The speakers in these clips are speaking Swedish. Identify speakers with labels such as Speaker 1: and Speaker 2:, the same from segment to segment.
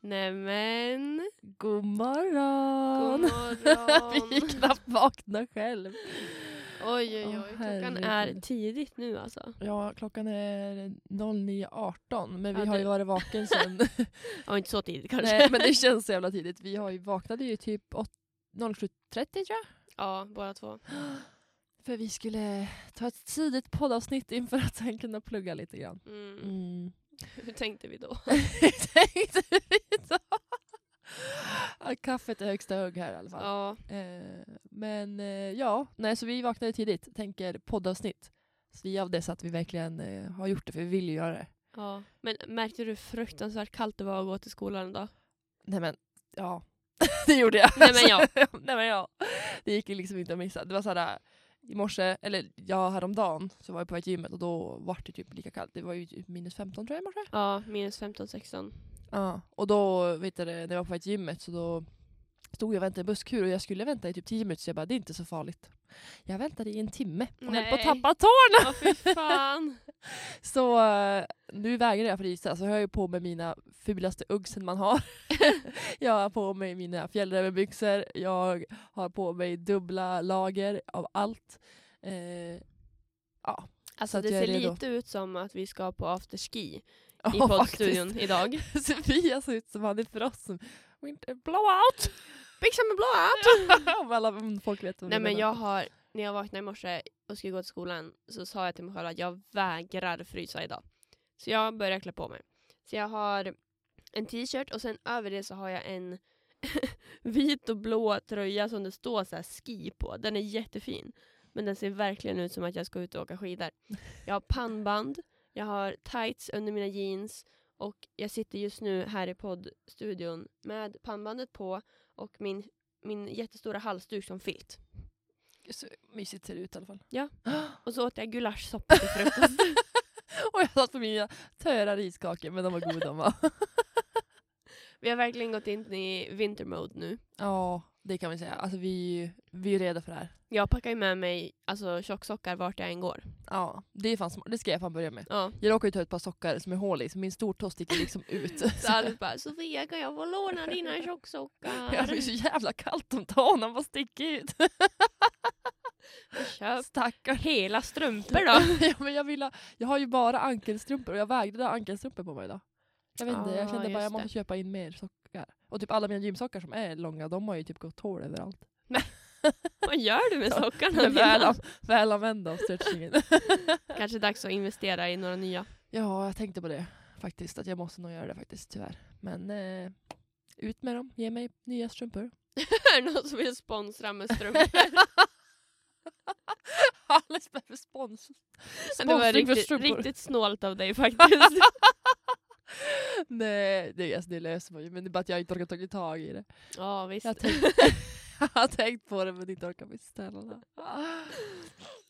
Speaker 1: Nämen,
Speaker 2: God
Speaker 1: god
Speaker 2: morgon! Vi är
Speaker 1: morgon.
Speaker 2: knappt vakna själv.
Speaker 1: oj, oj,
Speaker 2: Åh,
Speaker 1: oj. Klockan är
Speaker 2: herregud.
Speaker 1: tidigt nu alltså.
Speaker 2: Ja, klockan är 09.18 men vi
Speaker 1: Ja,
Speaker 2: har ju
Speaker 1: det-
Speaker 2: varit vaken sen.
Speaker 1: Ja, inte så tidigt kanske.
Speaker 2: Nej, men det känns så jävla tidigt. Vi har ju vaknade ju typ åt- 07.30 tror jag.
Speaker 1: Ja, båda två.
Speaker 2: För vi skulle ta ett tidigt poddavsnitt inför att sen kunna plugga lite grann.
Speaker 1: Mm.
Speaker 2: Mm.
Speaker 1: Hur tänkte vi då?
Speaker 2: Tänkte vi då. Ja, Kaffet är högsta hugg här i alla fall.
Speaker 1: Ja,
Speaker 2: Eh, men eh, ja, nej, så vi vaknade tidigt, tänker poddavsnitt. Så vi av det så att vi verkligen eh, har gjort det, för vi vill ju göra det.
Speaker 1: ja. Men märkte du hur fruktansvärt kallt det var att gå till skolan idag?
Speaker 2: Nej men, ja. det gjorde jag.
Speaker 1: Nej, men ja.
Speaker 2: nej men ja. Det gick ju liksom inte att missa. Det var såhär, i morse, eller ja häromdagen, så var jag på väg till gymmet och då var det typ lika kallt. Det var ju typ minus 15 tror jag i morse.
Speaker 1: Ja, minus 15-16.
Speaker 2: Ja. Och då, vet du, det, när jag var på väg till gymmet så då stod jag och väntade i en busskur och jag skulle vänta i typ 10 minuter så jag bara, det är inte så farligt. Jag väntade i en timme och höll på
Speaker 1: Nej.
Speaker 2: att tappa tårna.
Speaker 1: Ja, fy fan.
Speaker 2: Så eh, nu vägrar jag frysa så jag har ju på mig mina fulaste uggsen man har. jag har på mig mina fjällrävenbyxor, jag har på mig dubbla lager av allt. Eh, ja.
Speaker 1: Alltså
Speaker 2: att
Speaker 1: det
Speaker 2: jag
Speaker 1: ser
Speaker 2: är redo.
Speaker 1: lite ut som att vi ska på afterski i
Speaker 2: Ja,
Speaker 1: poddstudion idag.
Speaker 2: faktiskt. Sofia ser ut som Hanne Frost. Winter blowout!
Speaker 1: Big summer blowout!
Speaker 2: Om alla om folk vet vad
Speaker 1: Nej
Speaker 2: vi
Speaker 1: men
Speaker 2: menar.
Speaker 1: jag har, när jag vaknade i morse och skulle gå till skolan så sa jag till mig själv att jag vägrar frysa idag. Så jag börjar klä på mig. Så jag har en t-shirt och sen över det så har jag en vit och blå tröja som det står så här ski på. Den är jättefin. Men den ser verkligen ut som att jag ska ut och åka skidor. Jag har pannband, jag har tights under mina jeans och jag sitter just nu här i poddstudion med pannbandet på och min, min jättestora halsduk som filt.
Speaker 2: Så mysigt ser det ut i alla fall.
Speaker 1: Ja. Och så åt jag gulaschsoppa till frukost.
Speaker 2: och jag satt på mina töra riskakor men de var goda de var.
Speaker 1: Vi har verkligen gått in i vintermode nu.
Speaker 2: ja, det kan vi säga. Alltså vi, vi är redo för det här.
Speaker 1: Jag packar ju med mig alltså, tjocksockar vart jag än går.
Speaker 2: Ja, det, är fan, smart. det ska jag fan börja med.
Speaker 1: Ja.
Speaker 2: Jag råkar ju ta ut ett par sockar som är hål i, så min stortå sticker liksom ut.
Speaker 1: Så Alice bara, Sofia kan jag få låna dina tjocksockar?
Speaker 2: Ja, det är så jävla kallt om tårna bara sticker ut.
Speaker 1: Köp
Speaker 2: Stackars.
Speaker 1: hela strumpor då.
Speaker 2: ja, men jag, vill ha, jag har ju bara ankelstrumpor och jag vägde ha ankelstrumpor på mig idag. Jag vet inte, jag
Speaker 1: Ah,
Speaker 2: kände bara
Speaker 1: just
Speaker 2: jag måste
Speaker 1: det.
Speaker 2: köpa in mer sockar. Och typ alla mina gymsockar som är långa, de har ju typ gått hål överallt.
Speaker 1: Vad gör du med sockarna?
Speaker 2: Men väl,
Speaker 1: dina?
Speaker 2: an- väl använda av stretchingen.
Speaker 1: Kanske dags att investera i några nya.
Speaker 2: ja, jag tänkte på det faktiskt, att jag måste nog göra det faktiskt, tyvärr. Men eh, ut med dem, ge mig nya strumpor.
Speaker 1: Är det någon som vill sponsra med strumpor?
Speaker 2: Alice behöver spons.
Speaker 1: det var
Speaker 2: Sponsring för
Speaker 1: riktigt,
Speaker 2: strumpor.
Speaker 1: riktigt snålt av dig faktiskt.
Speaker 2: Nej, det, alltså, det löser man ju. Men det är bara att jag inte orkar tagit tag i det.
Speaker 1: Ja visst.
Speaker 2: Jag har tänkt, jag har tänkt på det men inte orkar beställa det.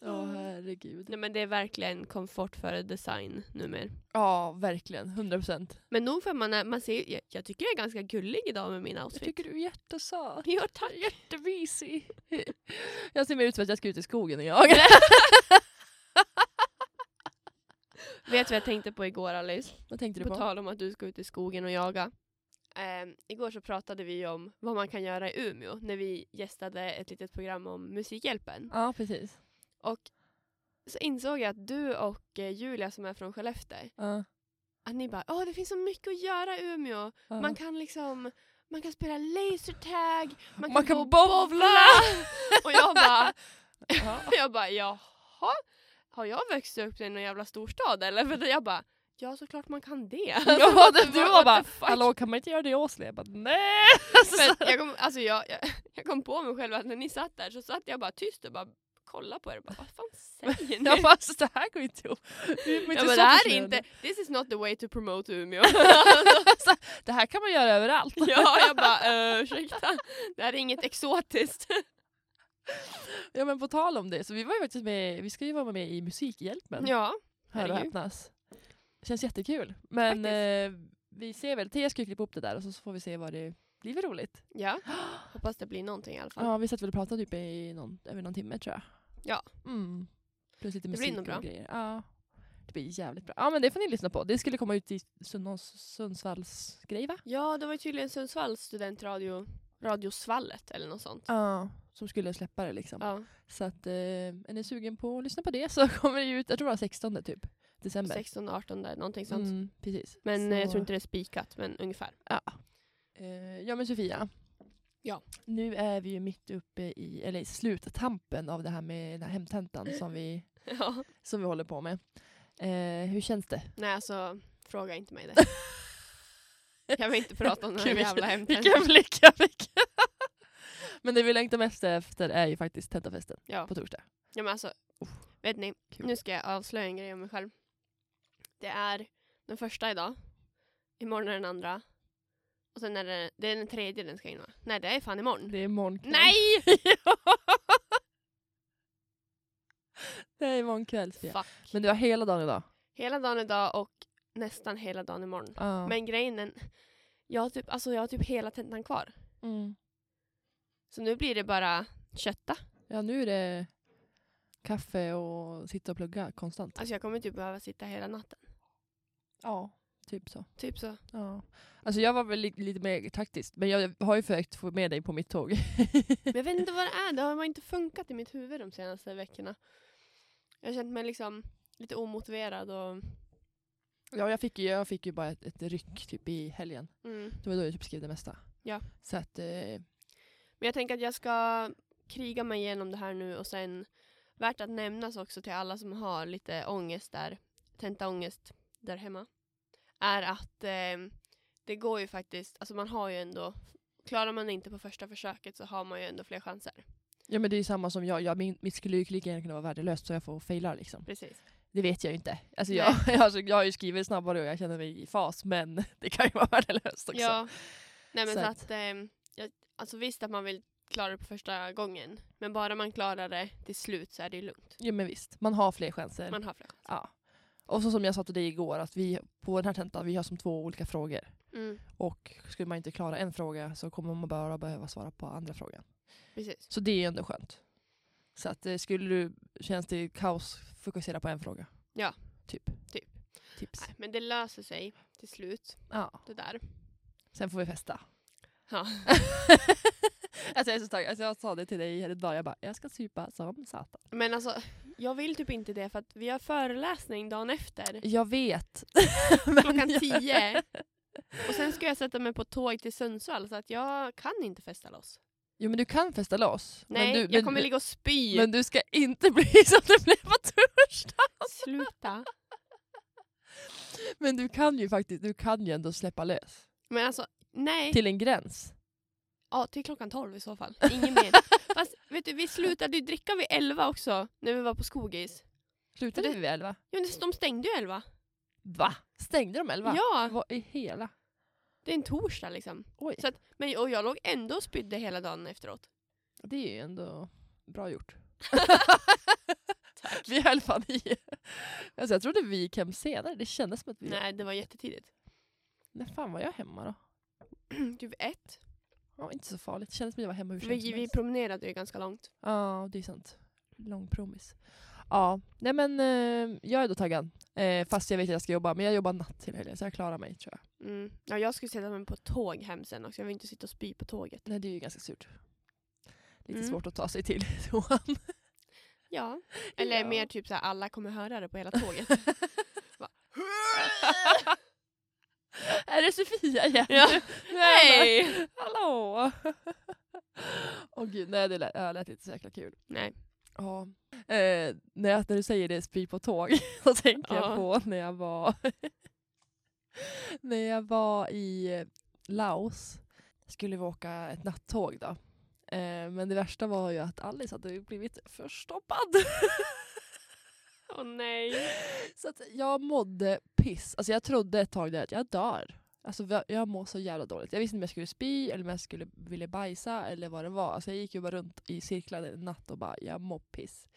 Speaker 2: Åh herregud.
Speaker 1: Nej men det är verkligen komfort före design numera.
Speaker 2: Ja, verkligen. 100 procent.
Speaker 1: Men nog för att man, är, man ser, jag, jag tycker jag är ganska gullig idag med min
Speaker 2: Jag
Speaker 1: outfit.
Speaker 2: tycker du är jättesöt.
Speaker 1: Ja, tack.
Speaker 2: Jättemysig. Jag ser mer ut som att jag ska ut i skogen än jag.
Speaker 1: Vet du vad jag tänkte på igår Alice?
Speaker 2: Vad tänkte du
Speaker 1: På
Speaker 2: på?
Speaker 1: tal om att du ska ut i skogen och jaga. Ehm, igår så pratade vi om vad man kan göra i Umeå när vi gästade ett litet program om Musikhjälpen.
Speaker 2: Ja, precis.
Speaker 1: Och så insåg jag att du och eh, Julia som är från Skellefteå,
Speaker 2: Ja,
Speaker 1: att ni bara åh det finns så mycket att göra i Umeå.
Speaker 2: ja.
Speaker 1: Man kan liksom man kan spela lasertag, man kan,
Speaker 2: Man
Speaker 1: gå
Speaker 2: kan
Speaker 1: och
Speaker 2: bowla!
Speaker 1: och jag bara
Speaker 2: Ja.
Speaker 1: Och jag bara jaha, har jag växt upp i någon jävla storstad eller? För jag bara ja såklart man kan det. Alltså,
Speaker 2: Ja,
Speaker 1: what the-
Speaker 2: det, du var
Speaker 1: what
Speaker 2: bara
Speaker 1: the fuck?
Speaker 2: hallå kan man inte göra det i Åsele? Jag bara nej!
Speaker 1: Men jag, kom, alltså, jag, jag, jag kom på mig själv att när ni satt där så satt jag bara tyst och bara kolla på er och bara vad fan säger ni?
Speaker 2: Jag bara alltså det här går inte ihop. Vi är
Speaker 1: Jag
Speaker 2: inte
Speaker 1: bara,
Speaker 2: så
Speaker 1: det här är
Speaker 2: försnöade."
Speaker 1: inte, this is not the way to promote Umeå.
Speaker 2: Det här kan man göra överallt.
Speaker 1: ja, jag bara uh, ursäkta, det här är inget exotiskt.
Speaker 2: Ja men på tal om det, så vi var ju faktiskt med, vi ska ju vara med i Musikhjälpen.
Speaker 1: ja,
Speaker 2: hör och
Speaker 1: herregud.
Speaker 2: häpnas. Känns jättekul. Men eh, vi ser väl, Thea ska ju klippa upp det där och så får vi se vad det blir för roligt.
Speaker 1: ja, hoppas det blir någonting i alla fall.
Speaker 2: Ja vi satt väl och pratade typ i någon, över någon timme tror jag.
Speaker 1: Ja.
Speaker 2: Mm. Plus lite
Speaker 1: Det blir
Speaker 2: musik
Speaker 1: nog bra.
Speaker 2: och grejer. Ja. Det blir jävligt bra. Ja men det får ni lyssna på. Det skulle komma ut i Sun- någon Sundsvalls grej va?
Speaker 1: Ja, det var ju tydligen Sundsvalls studentradio, Radiosvallet eller något sånt.
Speaker 2: Ja. Som skulle släppa det liksom.
Speaker 1: Ja,
Speaker 2: Så att eh, är ni sugen på att lyssna på det så kommer det ut, jag tror det var 16 typ. December.
Speaker 1: 16, 18 där, någonting sånt.
Speaker 2: Mm, precis.
Speaker 1: Men
Speaker 2: så,
Speaker 1: eh, jag tror inte det är spikat, men ungefär.
Speaker 2: Eh, ja men Sofia.
Speaker 1: Ja.
Speaker 2: Nu är vi ju mitt uppe i, eller i sluttampen av det här med den här hemtentan som vi,
Speaker 1: Ja.
Speaker 2: som vi håller på med. Eh, hur känns det?
Speaker 1: Nej, alltså fråga inte mig det. Jag vill inte prata om den här
Speaker 2: Gud,
Speaker 1: jävla
Speaker 2: Vilken
Speaker 1: hemtentan.
Speaker 2: vilken blick jag fick! men det vi längtar mest efter är ju faktiskt tentafesten
Speaker 1: Ja.
Speaker 2: på torsdag.
Speaker 1: ja, men alltså. Vet ni,
Speaker 2: Kul.
Speaker 1: nu ska jag avslöja en grej om mig själv. Det är den första idag. Imorgon är den andra. Och sen är det, det är den tredje den ska in va? Nej, det är fan imorgon.
Speaker 2: Det är imorgon kväll.
Speaker 1: Nej!
Speaker 2: Det är imorgon kväll Sofia.
Speaker 1: Fuck.
Speaker 2: Men du har hela dagen idag.
Speaker 1: Hela dagen idag och nästan hela dagen imorgon.
Speaker 2: Ja.
Speaker 1: Men grejen är, jag har, typ, alltså jag har typ hela tentan kvar.
Speaker 2: Mm.
Speaker 1: Så nu blir det bara kötta.
Speaker 2: Ja, nu är det kaffe och sitta och plugga konstant.
Speaker 1: Alltså jag kommer typ behöva sitta hela natten.
Speaker 2: Ja, typ så.
Speaker 1: Typ så.
Speaker 2: Ja. Alltså jag var väl li- lite mer taktisk, men jag har ju försökt få med dig på mitt tåg.
Speaker 1: Men jag vet inte vad det är, det har bara inte funkat i mitt huvud de senaste veckorna. Jag har känt mig liksom lite omotiverad och...
Speaker 2: ja, jag fick ju, jag fick ju bara ett, ett ryck typ i helgen.
Speaker 1: Mm.
Speaker 2: Det var då jag typ skrev det mesta.
Speaker 1: Ja.
Speaker 2: Så att, eh,
Speaker 1: Men jag tänker att jag ska kriga mig igenom det här nu och sen värt att nämnas också till alla som har lite ångest där, tentaångest där hemma, är att eh, det går ju faktiskt, alltså man har ju ändå, klarar man det inte på första försöket så har man ju ändå fler chanser.
Speaker 2: ja men det är ju samma som jag, jag min, mitt skulle ju lika gärna kunna vara värdelöst så jag får faila liksom.
Speaker 1: Precis.
Speaker 2: Det vet jag ju inte. Alltså jag, alltså, jag har ju skrivit snabbare och jag känner mig i fas men det kan ju vara värdelöst också.
Speaker 1: Ja. Nej men
Speaker 2: Så
Speaker 1: så,
Speaker 2: att-
Speaker 1: att, eh, jag, alltså visst att man vill klara det på första gången, men bara man klarar det till slut så är det ju lugnt.
Speaker 2: Jo, men visst, man har fler chanser.
Speaker 1: Man har fler chanser.
Speaker 2: Ja. Och så som jag sa till dig igår, att vi på den här tentan, vi har som två olika frågor.
Speaker 1: Mm,
Speaker 2: Och skulle man inte klara en fråga så kommer man bara behöva svara på andra frågan.
Speaker 1: precis.
Speaker 2: Så det är ju ändå skönt. Så att eh, skulle du, känns det kaos, fokusera på en fråga.
Speaker 1: Ja.
Speaker 2: Typ.
Speaker 1: Typ.
Speaker 2: Tips.
Speaker 1: Nej, men det löser sig till slut,
Speaker 2: Ja.
Speaker 1: det där.
Speaker 2: Sen får vi festa.
Speaker 1: Ja.
Speaker 2: alltså jag är så taggad. Alltså jag sa det till dig idag, jag bara, jag ska supa som satan.
Speaker 1: Men alltså, jag vill typ inte det för att vi har föreläsning dagen efter.
Speaker 2: Jag vet.
Speaker 1: Klockan tio. Och sen ska jag sätta mig på tåg till Sundsvall så att jag kan inte festa loss.
Speaker 2: Jo men du kan festa loss.
Speaker 1: Nej,
Speaker 2: men du,
Speaker 1: jag
Speaker 2: men-
Speaker 1: kommer ligga och spy.
Speaker 2: Men du ska inte bli som du blev på torsdag.
Speaker 1: Sluta.
Speaker 2: Men du kan ju faktiskt, du kan ju ändå släppa lös.
Speaker 1: Men alltså, nej.
Speaker 2: Till en gräns.
Speaker 1: Ja, till klockan tolv i så fall. Ingen mer. Fast vet du, vi slutade ju dricka vid elva också när vi var på Skogis.
Speaker 2: Slutade
Speaker 1: Det-
Speaker 2: vi vid elva?
Speaker 1: Jo, men de stängde ju elva.
Speaker 2: Va? Stängde de elva?
Speaker 1: Ja,
Speaker 2: Vad i hela?
Speaker 1: det är en torsdag liksom.
Speaker 2: Oj.
Speaker 1: Så att, men, och jag låg ändå och spydde hela dagen efteråt.
Speaker 2: Det är ju ändå bra gjort.
Speaker 1: Tack.
Speaker 2: Vi höll fan i. Alltså jag trodde vi gick hem senare. Det kändes som att vi...
Speaker 1: Nej, det var jättetidigt.
Speaker 2: När fan var jag hemma då?
Speaker 1: Typ ett.
Speaker 2: Ja, inte så farligt. Det kändes som att jag var hemma hur sent
Speaker 1: Vi,
Speaker 2: som
Speaker 1: vi
Speaker 2: helst.
Speaker 1: promenerade ju ganska långt.
Speaker 2: Ja, det är sant. Lång promis. Ja, nej men eh, jag är då taggad. Eh, fast jag vet att jag ska jobba. Men jag jobbar natt till helgen så jag klarar mig tror jag.
Speaker 1: Mm. Ja, jag skulle sätta mig på ett tåg hem sen också. Jag vill inte sitta och spy på tåget.
Speaker 2: Nej, det är ju ganska surt. Lite
Speaker 1: Mm.
Speaker 2: svårt att ta sig till toan.
Speaker 1: Ja. Eller
Speaker 2: Ja.
Speaker 1: mer typ så här, alla kommer höra det på hela tåget.
Speaker 2: är det Sofia igen?
Speaker 1: ja.
Speaker 2: Nu är jag
Speaker 1: Nej!
Speaker 2: där. Hallå! Åh gud, nej det lät, ja, det lät inte så jäkla kul.
Speaker 1: Nej.
Speaker 2: Ja. Eh, när, jag, när du säger det, spy på tåg, så tänker
Speaker 1: Ja.
Speaker 2: jag på när jag var när jag var i Laos. Skulle vi åka ett nattåg då. Eh, men det värsta var ju att Alice hade blivit förstoppad.
Speaker 1: Åh nej.
Speaker 2: Så att jag mådde piss. Alltså jag trodde ett tag där att jag dör. Alltså jag- jag mår så jävla dåligt. Jag visste inte om jag skulle spy eller om jag skulle vilja bajsa eller vad det var. Alltså jag gick ju bara runt i cirklar en natt och bara jag mår piss.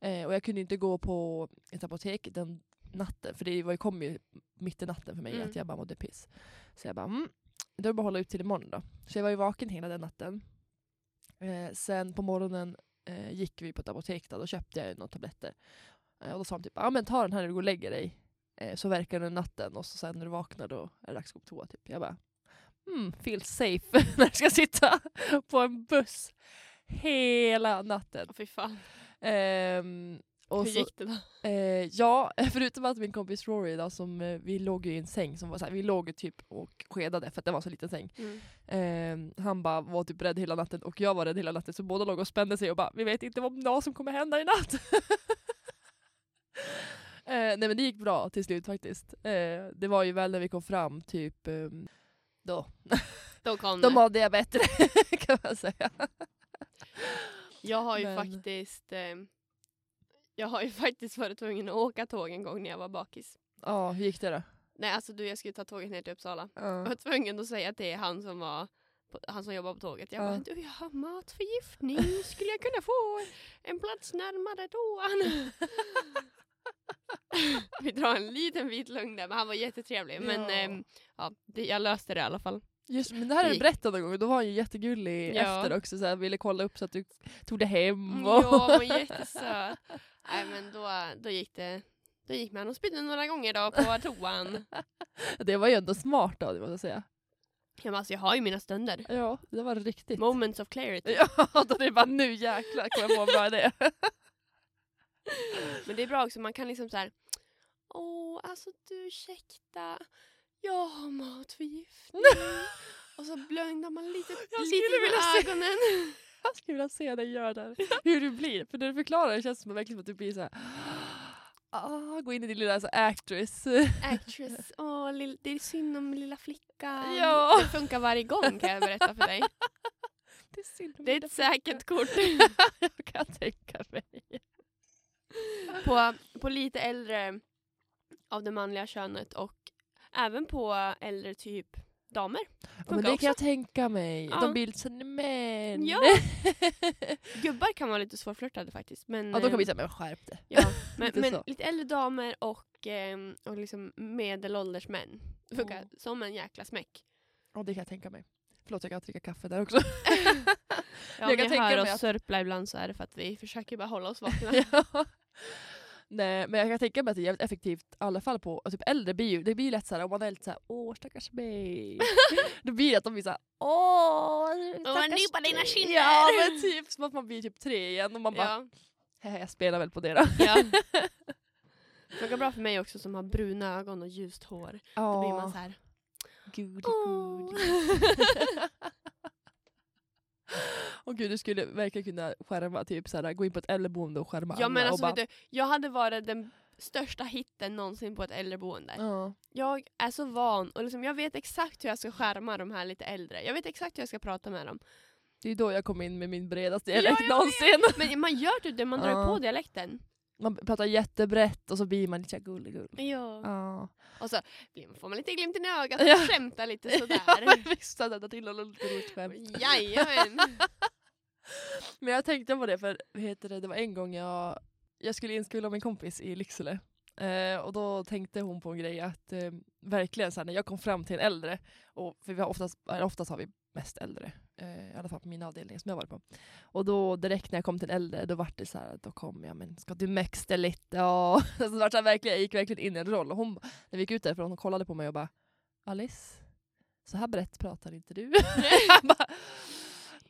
Speaker 2: Eh, och jag kunde inte gå på ett apotek den natten för det var ju, kom ju mitt i natten för mig
Speaker 1: Mm.
Speaker 2: att jag bara mådde piss. Så jag bara mm, då är det bara att hålla ut till imorgon då. Så jag var ju vaken hela den natten. Eh, sen på morgonen eh, gick vi på ett apotek då, då köpte jag ju några tabletter. Eh, Och då sa de typ, ja men ta den här när du går och lägger dig. Eh, Så verkar den natten och så sen när du vaknar då är det dags att gå på toa. Typ. Jag bara, mm, feel safe när du ska sitta på en buss hela natten.
Speaker 1: Åh fy fan.
Speaker 2: Ehm, och
Speaker 1: Hur
Speaker 2: så,
Speaker 1: gick det då?
Speaker 2: eh, ja, förutom att min kompis Rory då, som eh, vi låg ju i en säng som var såhär, vi låg ju typ och skedade för att det var så liten säng.
Speaker 1: Mm.
Speaker 2: Ehm, han bara var typ rädd hela natten och jag var rädd hela natten så båda låg och spände sig och bara vi vet inte vad vad som kommer hända i natt. Eh, nej men det gick bra till slut faktiskt. Eh, det var ju väl när vi kom fram typ ehm, då.
Speaker 1: Då kom
Speaker 2: Då
Speaker 1: det.
Speaker 2: mådde jag bättre kan man säga.
Speaker 1: Jag har ju
Speaker 2: Men-
Speaker 1: faktiskt eh, jag har ju faktiskt varit tvungen att åka tåg en gång när jag var bakis.
Speaker 2: Ja, hur gick det då?
Speaker 1: Nej alltså du jag skulle ta tåget ner till Uppsala.
Speaker 2: Ja.
Speaker 1: Jag var tvungen att säga till han som var på- han som jobbar på tåget. Jag bara,
Speaker 2: Ja.
Speaker 1: du jag har matförgiftning, skulle jag kunna få en plats närmare toan? Vi drar en liten vit lögn där, men han var jättetrevlig. Men
Speaker 2: Ja.
Speaker 1: ehm, ja, det, jag löste det i alla fall.
Speaker 2: Just, men det här har du
Speaker 1: Gick-
Speaker 2: berättat någon gång, då var han ju jättegullig
Speaker 1: Ja.
Speaker 2: efter också, så här, ville kolla upp så att du tog det hem. Och...
Speaker 1: Mm. Ja, hon var jättesöt. Nej men då, då gick det, då gick man och spydde några gånger då på toan.
Speaker 2: Det var ju ändå smart av dig måste jag säga.
Speaker 1: Ja, men alltså, jag har ju mina stunder.
Speaker 2: Ja, det var riktigt.
Speaker 1: Moments of clarity.
Speaker 2: Ja, då det är bara nu jäklar kommer jag på bara det.
Speaker 1: Men det är bra också, man kan liksom så här. Åh, alltså du ursäkta. Jag har matförgiftning. och så blöndar man lite,
Speaker 2: Jag
Speaker 1: lite
Speaker 2: skulle vilja
Speaker 1: med
Speaker 2: se-
Speaker 1: ögonen.
Speaker 2: Jag skulle vilja se dig göra det. här. Hur du blir. För när du förklarar det känns det som verkligen som att du blir så här. Ah, gå in i din lilla alltså, actress.
Speaker 1: Actress. Åh, lill- det är synd om lilla flickan.
Speaker 2: Ja.
Speaker 1: Det funkar varje gång kan jag berätta för dig.
Speaker 2: Det är synd om
Speaker 1: Det är
Speaker 2: mina
Speaker 1: ett säkert kort.
Speaker 2: föräldrar, kan jag tänka mig.
Speaker 1: på, på lite äldre av det manliga könet och även på äldre typ damer. Funkar
Speaker 2: men det
Speaker 1: också.
Speaker 2: kan jag tänka mig.
Speaker 1: Ja.
Speaker 2: De blir lite såhär, men.
Speaker 1: Ja. Gubbar kan vara lite svårflörtade faktiskt. Men,
Speaker 2: ja, då kan vi
Speaker 1: eh,
Speaker 2: säga, men skärp dig.
Speaker 1: ja, men,
Speaker 2: lite
Speaker 1: men
Speaker 2: så.
Speaker 1: lite äldre damer och, ehm, och liksom medelålders män. Funkar
Speaker 2: Ja.
Speaker 1: som en jäkla smäck.
Speaker 2: Mm. Ja, det kan jag tänka mig. Förlåt, jag kan dricka kaffe där också.
Speaker 1: Ja,
Speaker 2: Jag
Speaker 1: jag
Speaker 2: kan
Speaker 1: kan
Speaker 2: tänka
Speaker 1: hör
Speaker 2: mig
Speaker 1: oss
Speaker 2: att-
Speaker 1: sörpla ibland så är det för att vi försöker bara hålla oss vakna.
Speaker 2: Ja. Nej, men jag kan tänka mig att det är jävligt effektivt i alla fall på och typ äldre blir ju, det blir ju lätt såhär om man är lite såhär åh stackars mig. Då blir det att de blir såhär åh stackars
Speaker 1: nypa dina
Speaker 2: dig."
Speaker 1: kinder.
Speaker 2: Ja men typ som att man blir typ tre igen och man bara
Speaker 1: ja,
Speaker 2: hehe jag spelar väl på det då.
Speaker 1: ja. Funkar bra för mig också som har bruna ögon och ljust hår. Då blir man så här.
Speaker 2: gud,
Speaker 1: "Åh."
Speaker 2: Och gud du skulle verkligen kunna skärma typ såhär gå in på ett äldreboende och skärma
Speaker 1: Ja
Speaker 2: alla
Speaker 1: men
Speaker 2: och
Speaker 1: alltså
Speaker 2: bara,
Speaker 1: vet du, jag hade varit den största hitten någonsin på ett äldreboende.
Speaker 2: ja.
Speaker 1: Jag är så van och liksom, jag vet exakt hur jag ska skärma de här lite äldre. Jag vet exakt hur jag ska prata med dem.
Speaker 2: Det är då jag kom in med min bredaste
Speaker 1: Ja,
Speaker 2: dialekt
Speaker 1: jag
Speaker 2: någonsin.
Speaker 1: Men man gör typ det, man drar ju
Speaker 2: Ja.
Speaker 1: på dialekten.
Speaker 2: Man pratar jättebrett och så blir man lite såhär gullegull.
Speaker 1: Ja.
Speaker 2: Ja.
Speaker 1: Och så blir- får man lite glimten i ögat
Speaker 2: Ja.
Speaker 1: och skämtar lite
Speaker 2: Ja,
Speaker 1: sådär.
Speaker 2: visst hade jag till och med lite roligt skämt.
Speaker 1: Jajamän.
Speaker 2: Men jag tänkte på det för vad heter det, det var en gång jag, jag skulle inskulla min kompis i Lycksele. Eh, och då tänkte hon på en grej att eh, verkligen så här, när jag kom fram till en äldre, och, för vi har oftast, eller oftast har vi mest äldre, eh, i alla fall på mina avdelningar som jag varit på. Och då direkt när jag kom till en äldre då var det så här, att då kom jag men ska du mäxte lite och så det var så här, verkligen, jag gick verkligen in i en roll och hon, när vi gick ut därifrån hon kollade på mig och bara Alice, så här brett pratar inte du. Jag bara,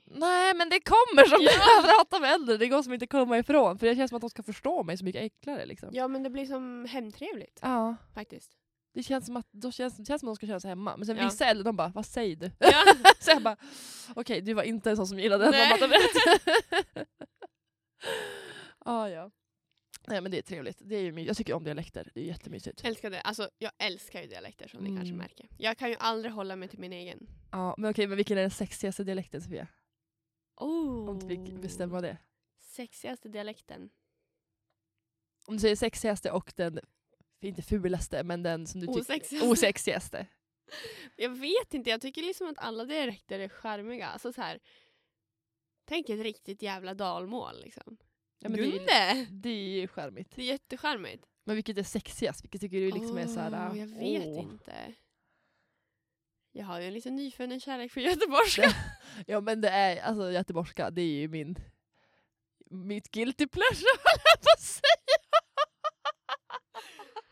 Speaker 2: Nej men det kommer som
Speaker 1: Ja.
Speaker 2: jag pratar med äldre, det går som inte att komma ifrån. För det känns som att de ska förstå mig så mycket enklare liksom.
Speaker 1: Ja men det blir som hemtrevligt
Speaker 2: Ja.
Speaker 1: faktiskt.
Speaker 2: Det känns som att, då känns, det känns som att de ska känna sig hemma. Men sen
Speaker 1: Ja.
Speaker 2: vissa äldre de bara, vad säger du?
Speaker 1: Ja.
Speaker 2: Så jag bara, okej du var inte en sån som gillade att
Speaker 1: Nej.
Speaker 2: man pratade rätt. ah, ja. Nej men det är trevligt. Det är ju, my- jag tycker om dialekter, det är jättemysigt.
Speaker 1: Älskar det. Alltså jag älskar ju dialekter som ni kanske
Speaker 2: Mm.
Speaker 1: märker. Jag kan ju aldrig hålla mig till min egen.
Speaker 2: Ja, men okej, men vilken är den sexigaste dialekten Sofia?
Speaker 1: Oh.
Speaker 2: Om du fick bestämma det.
Speaker 1: Sexigaste dialekten.
Speaker 2: Om du säger sexigaste och den, inte fulaste, men den som du tycker...
Speaker 1: Osexigaste.
Speaker 2: Osexigaste.
Speaker 1: Jag vet inte, jag tycker liksom att alla dialekter är charmiga. Alltså så här, tänk ett riktigt jävla dalmål liksom.
Speaker 2: Ja, men det, är ju-
Speaker 1: Gunde!
Speaker 2: det är ju charmigt.
Speaker 1: Det är jättecharmigt.
Speaker 2: Men vilket är sexigast? Vilket tycker du liksom är såhär...
Speaker 1: Åh, jag vet
Speaker 2: åh.
Speaker 1: inte. Jag har ju en liten nyfunnen kärlek för göteborgska.
Speaker 2: Ja men det är, alltså göteborgska, det är ju min... Mitt guilty pleasure höll jag på att säga!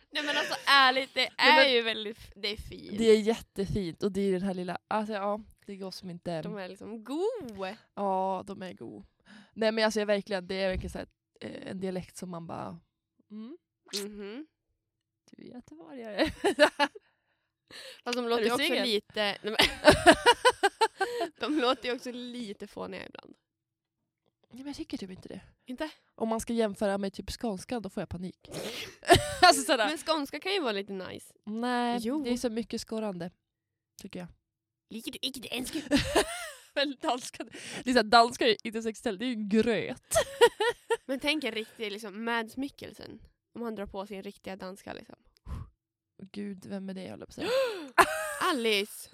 Speaker 1: Nej men alltså ärligt, det är
Speaker 2: Nej, men-
Speaker 1: ju väldigt f- det är fint.
Speaker 2: Det är jättefint och det är den här lilla, alltså ja, det går som inte...
Speaker 1: De är liksom go!
Speaker 2: Ja, de är god. Nej men alltså jag verkligen, det är verkligen så här, eh, en dialekt som man bara, mm,
Speaker 1: Mhm.
Speaker 2: du är göteborgare.
Speaker 1: Fast de låter ju
Speaker 2: du
Speaker 1: också
Speaker 2: singel?
Speaker 1: lite... Nej, men de låter ju också lite fåniga ibland.
Speaker 2: Nej men jag tycker typ inte det.
Speaker 1: Inte?
Speaker 2: Om man ska jämföra med typ skånskan då får jag panik. alltså sådär.
Speaker 1: Men skånska kan ju vara lite nice.
Speaker 2: Nej,
Speaker 1: Jo.
Speaker 2: det är så mycket skorrande. Tycker jag.
Speaker 1: Liker du inte ens
Speaker 2: Men danska, det är såhär, danska är inte sexuellt, det är ju gröt.
Speaker 1: Men tänk en riktig liksom, Mads Mikkelsen. Om han drar på sin riktiga danska liksom.
Speaker 2: Gud, vem är det jag håller på att säga?
Speaker 1: Alice!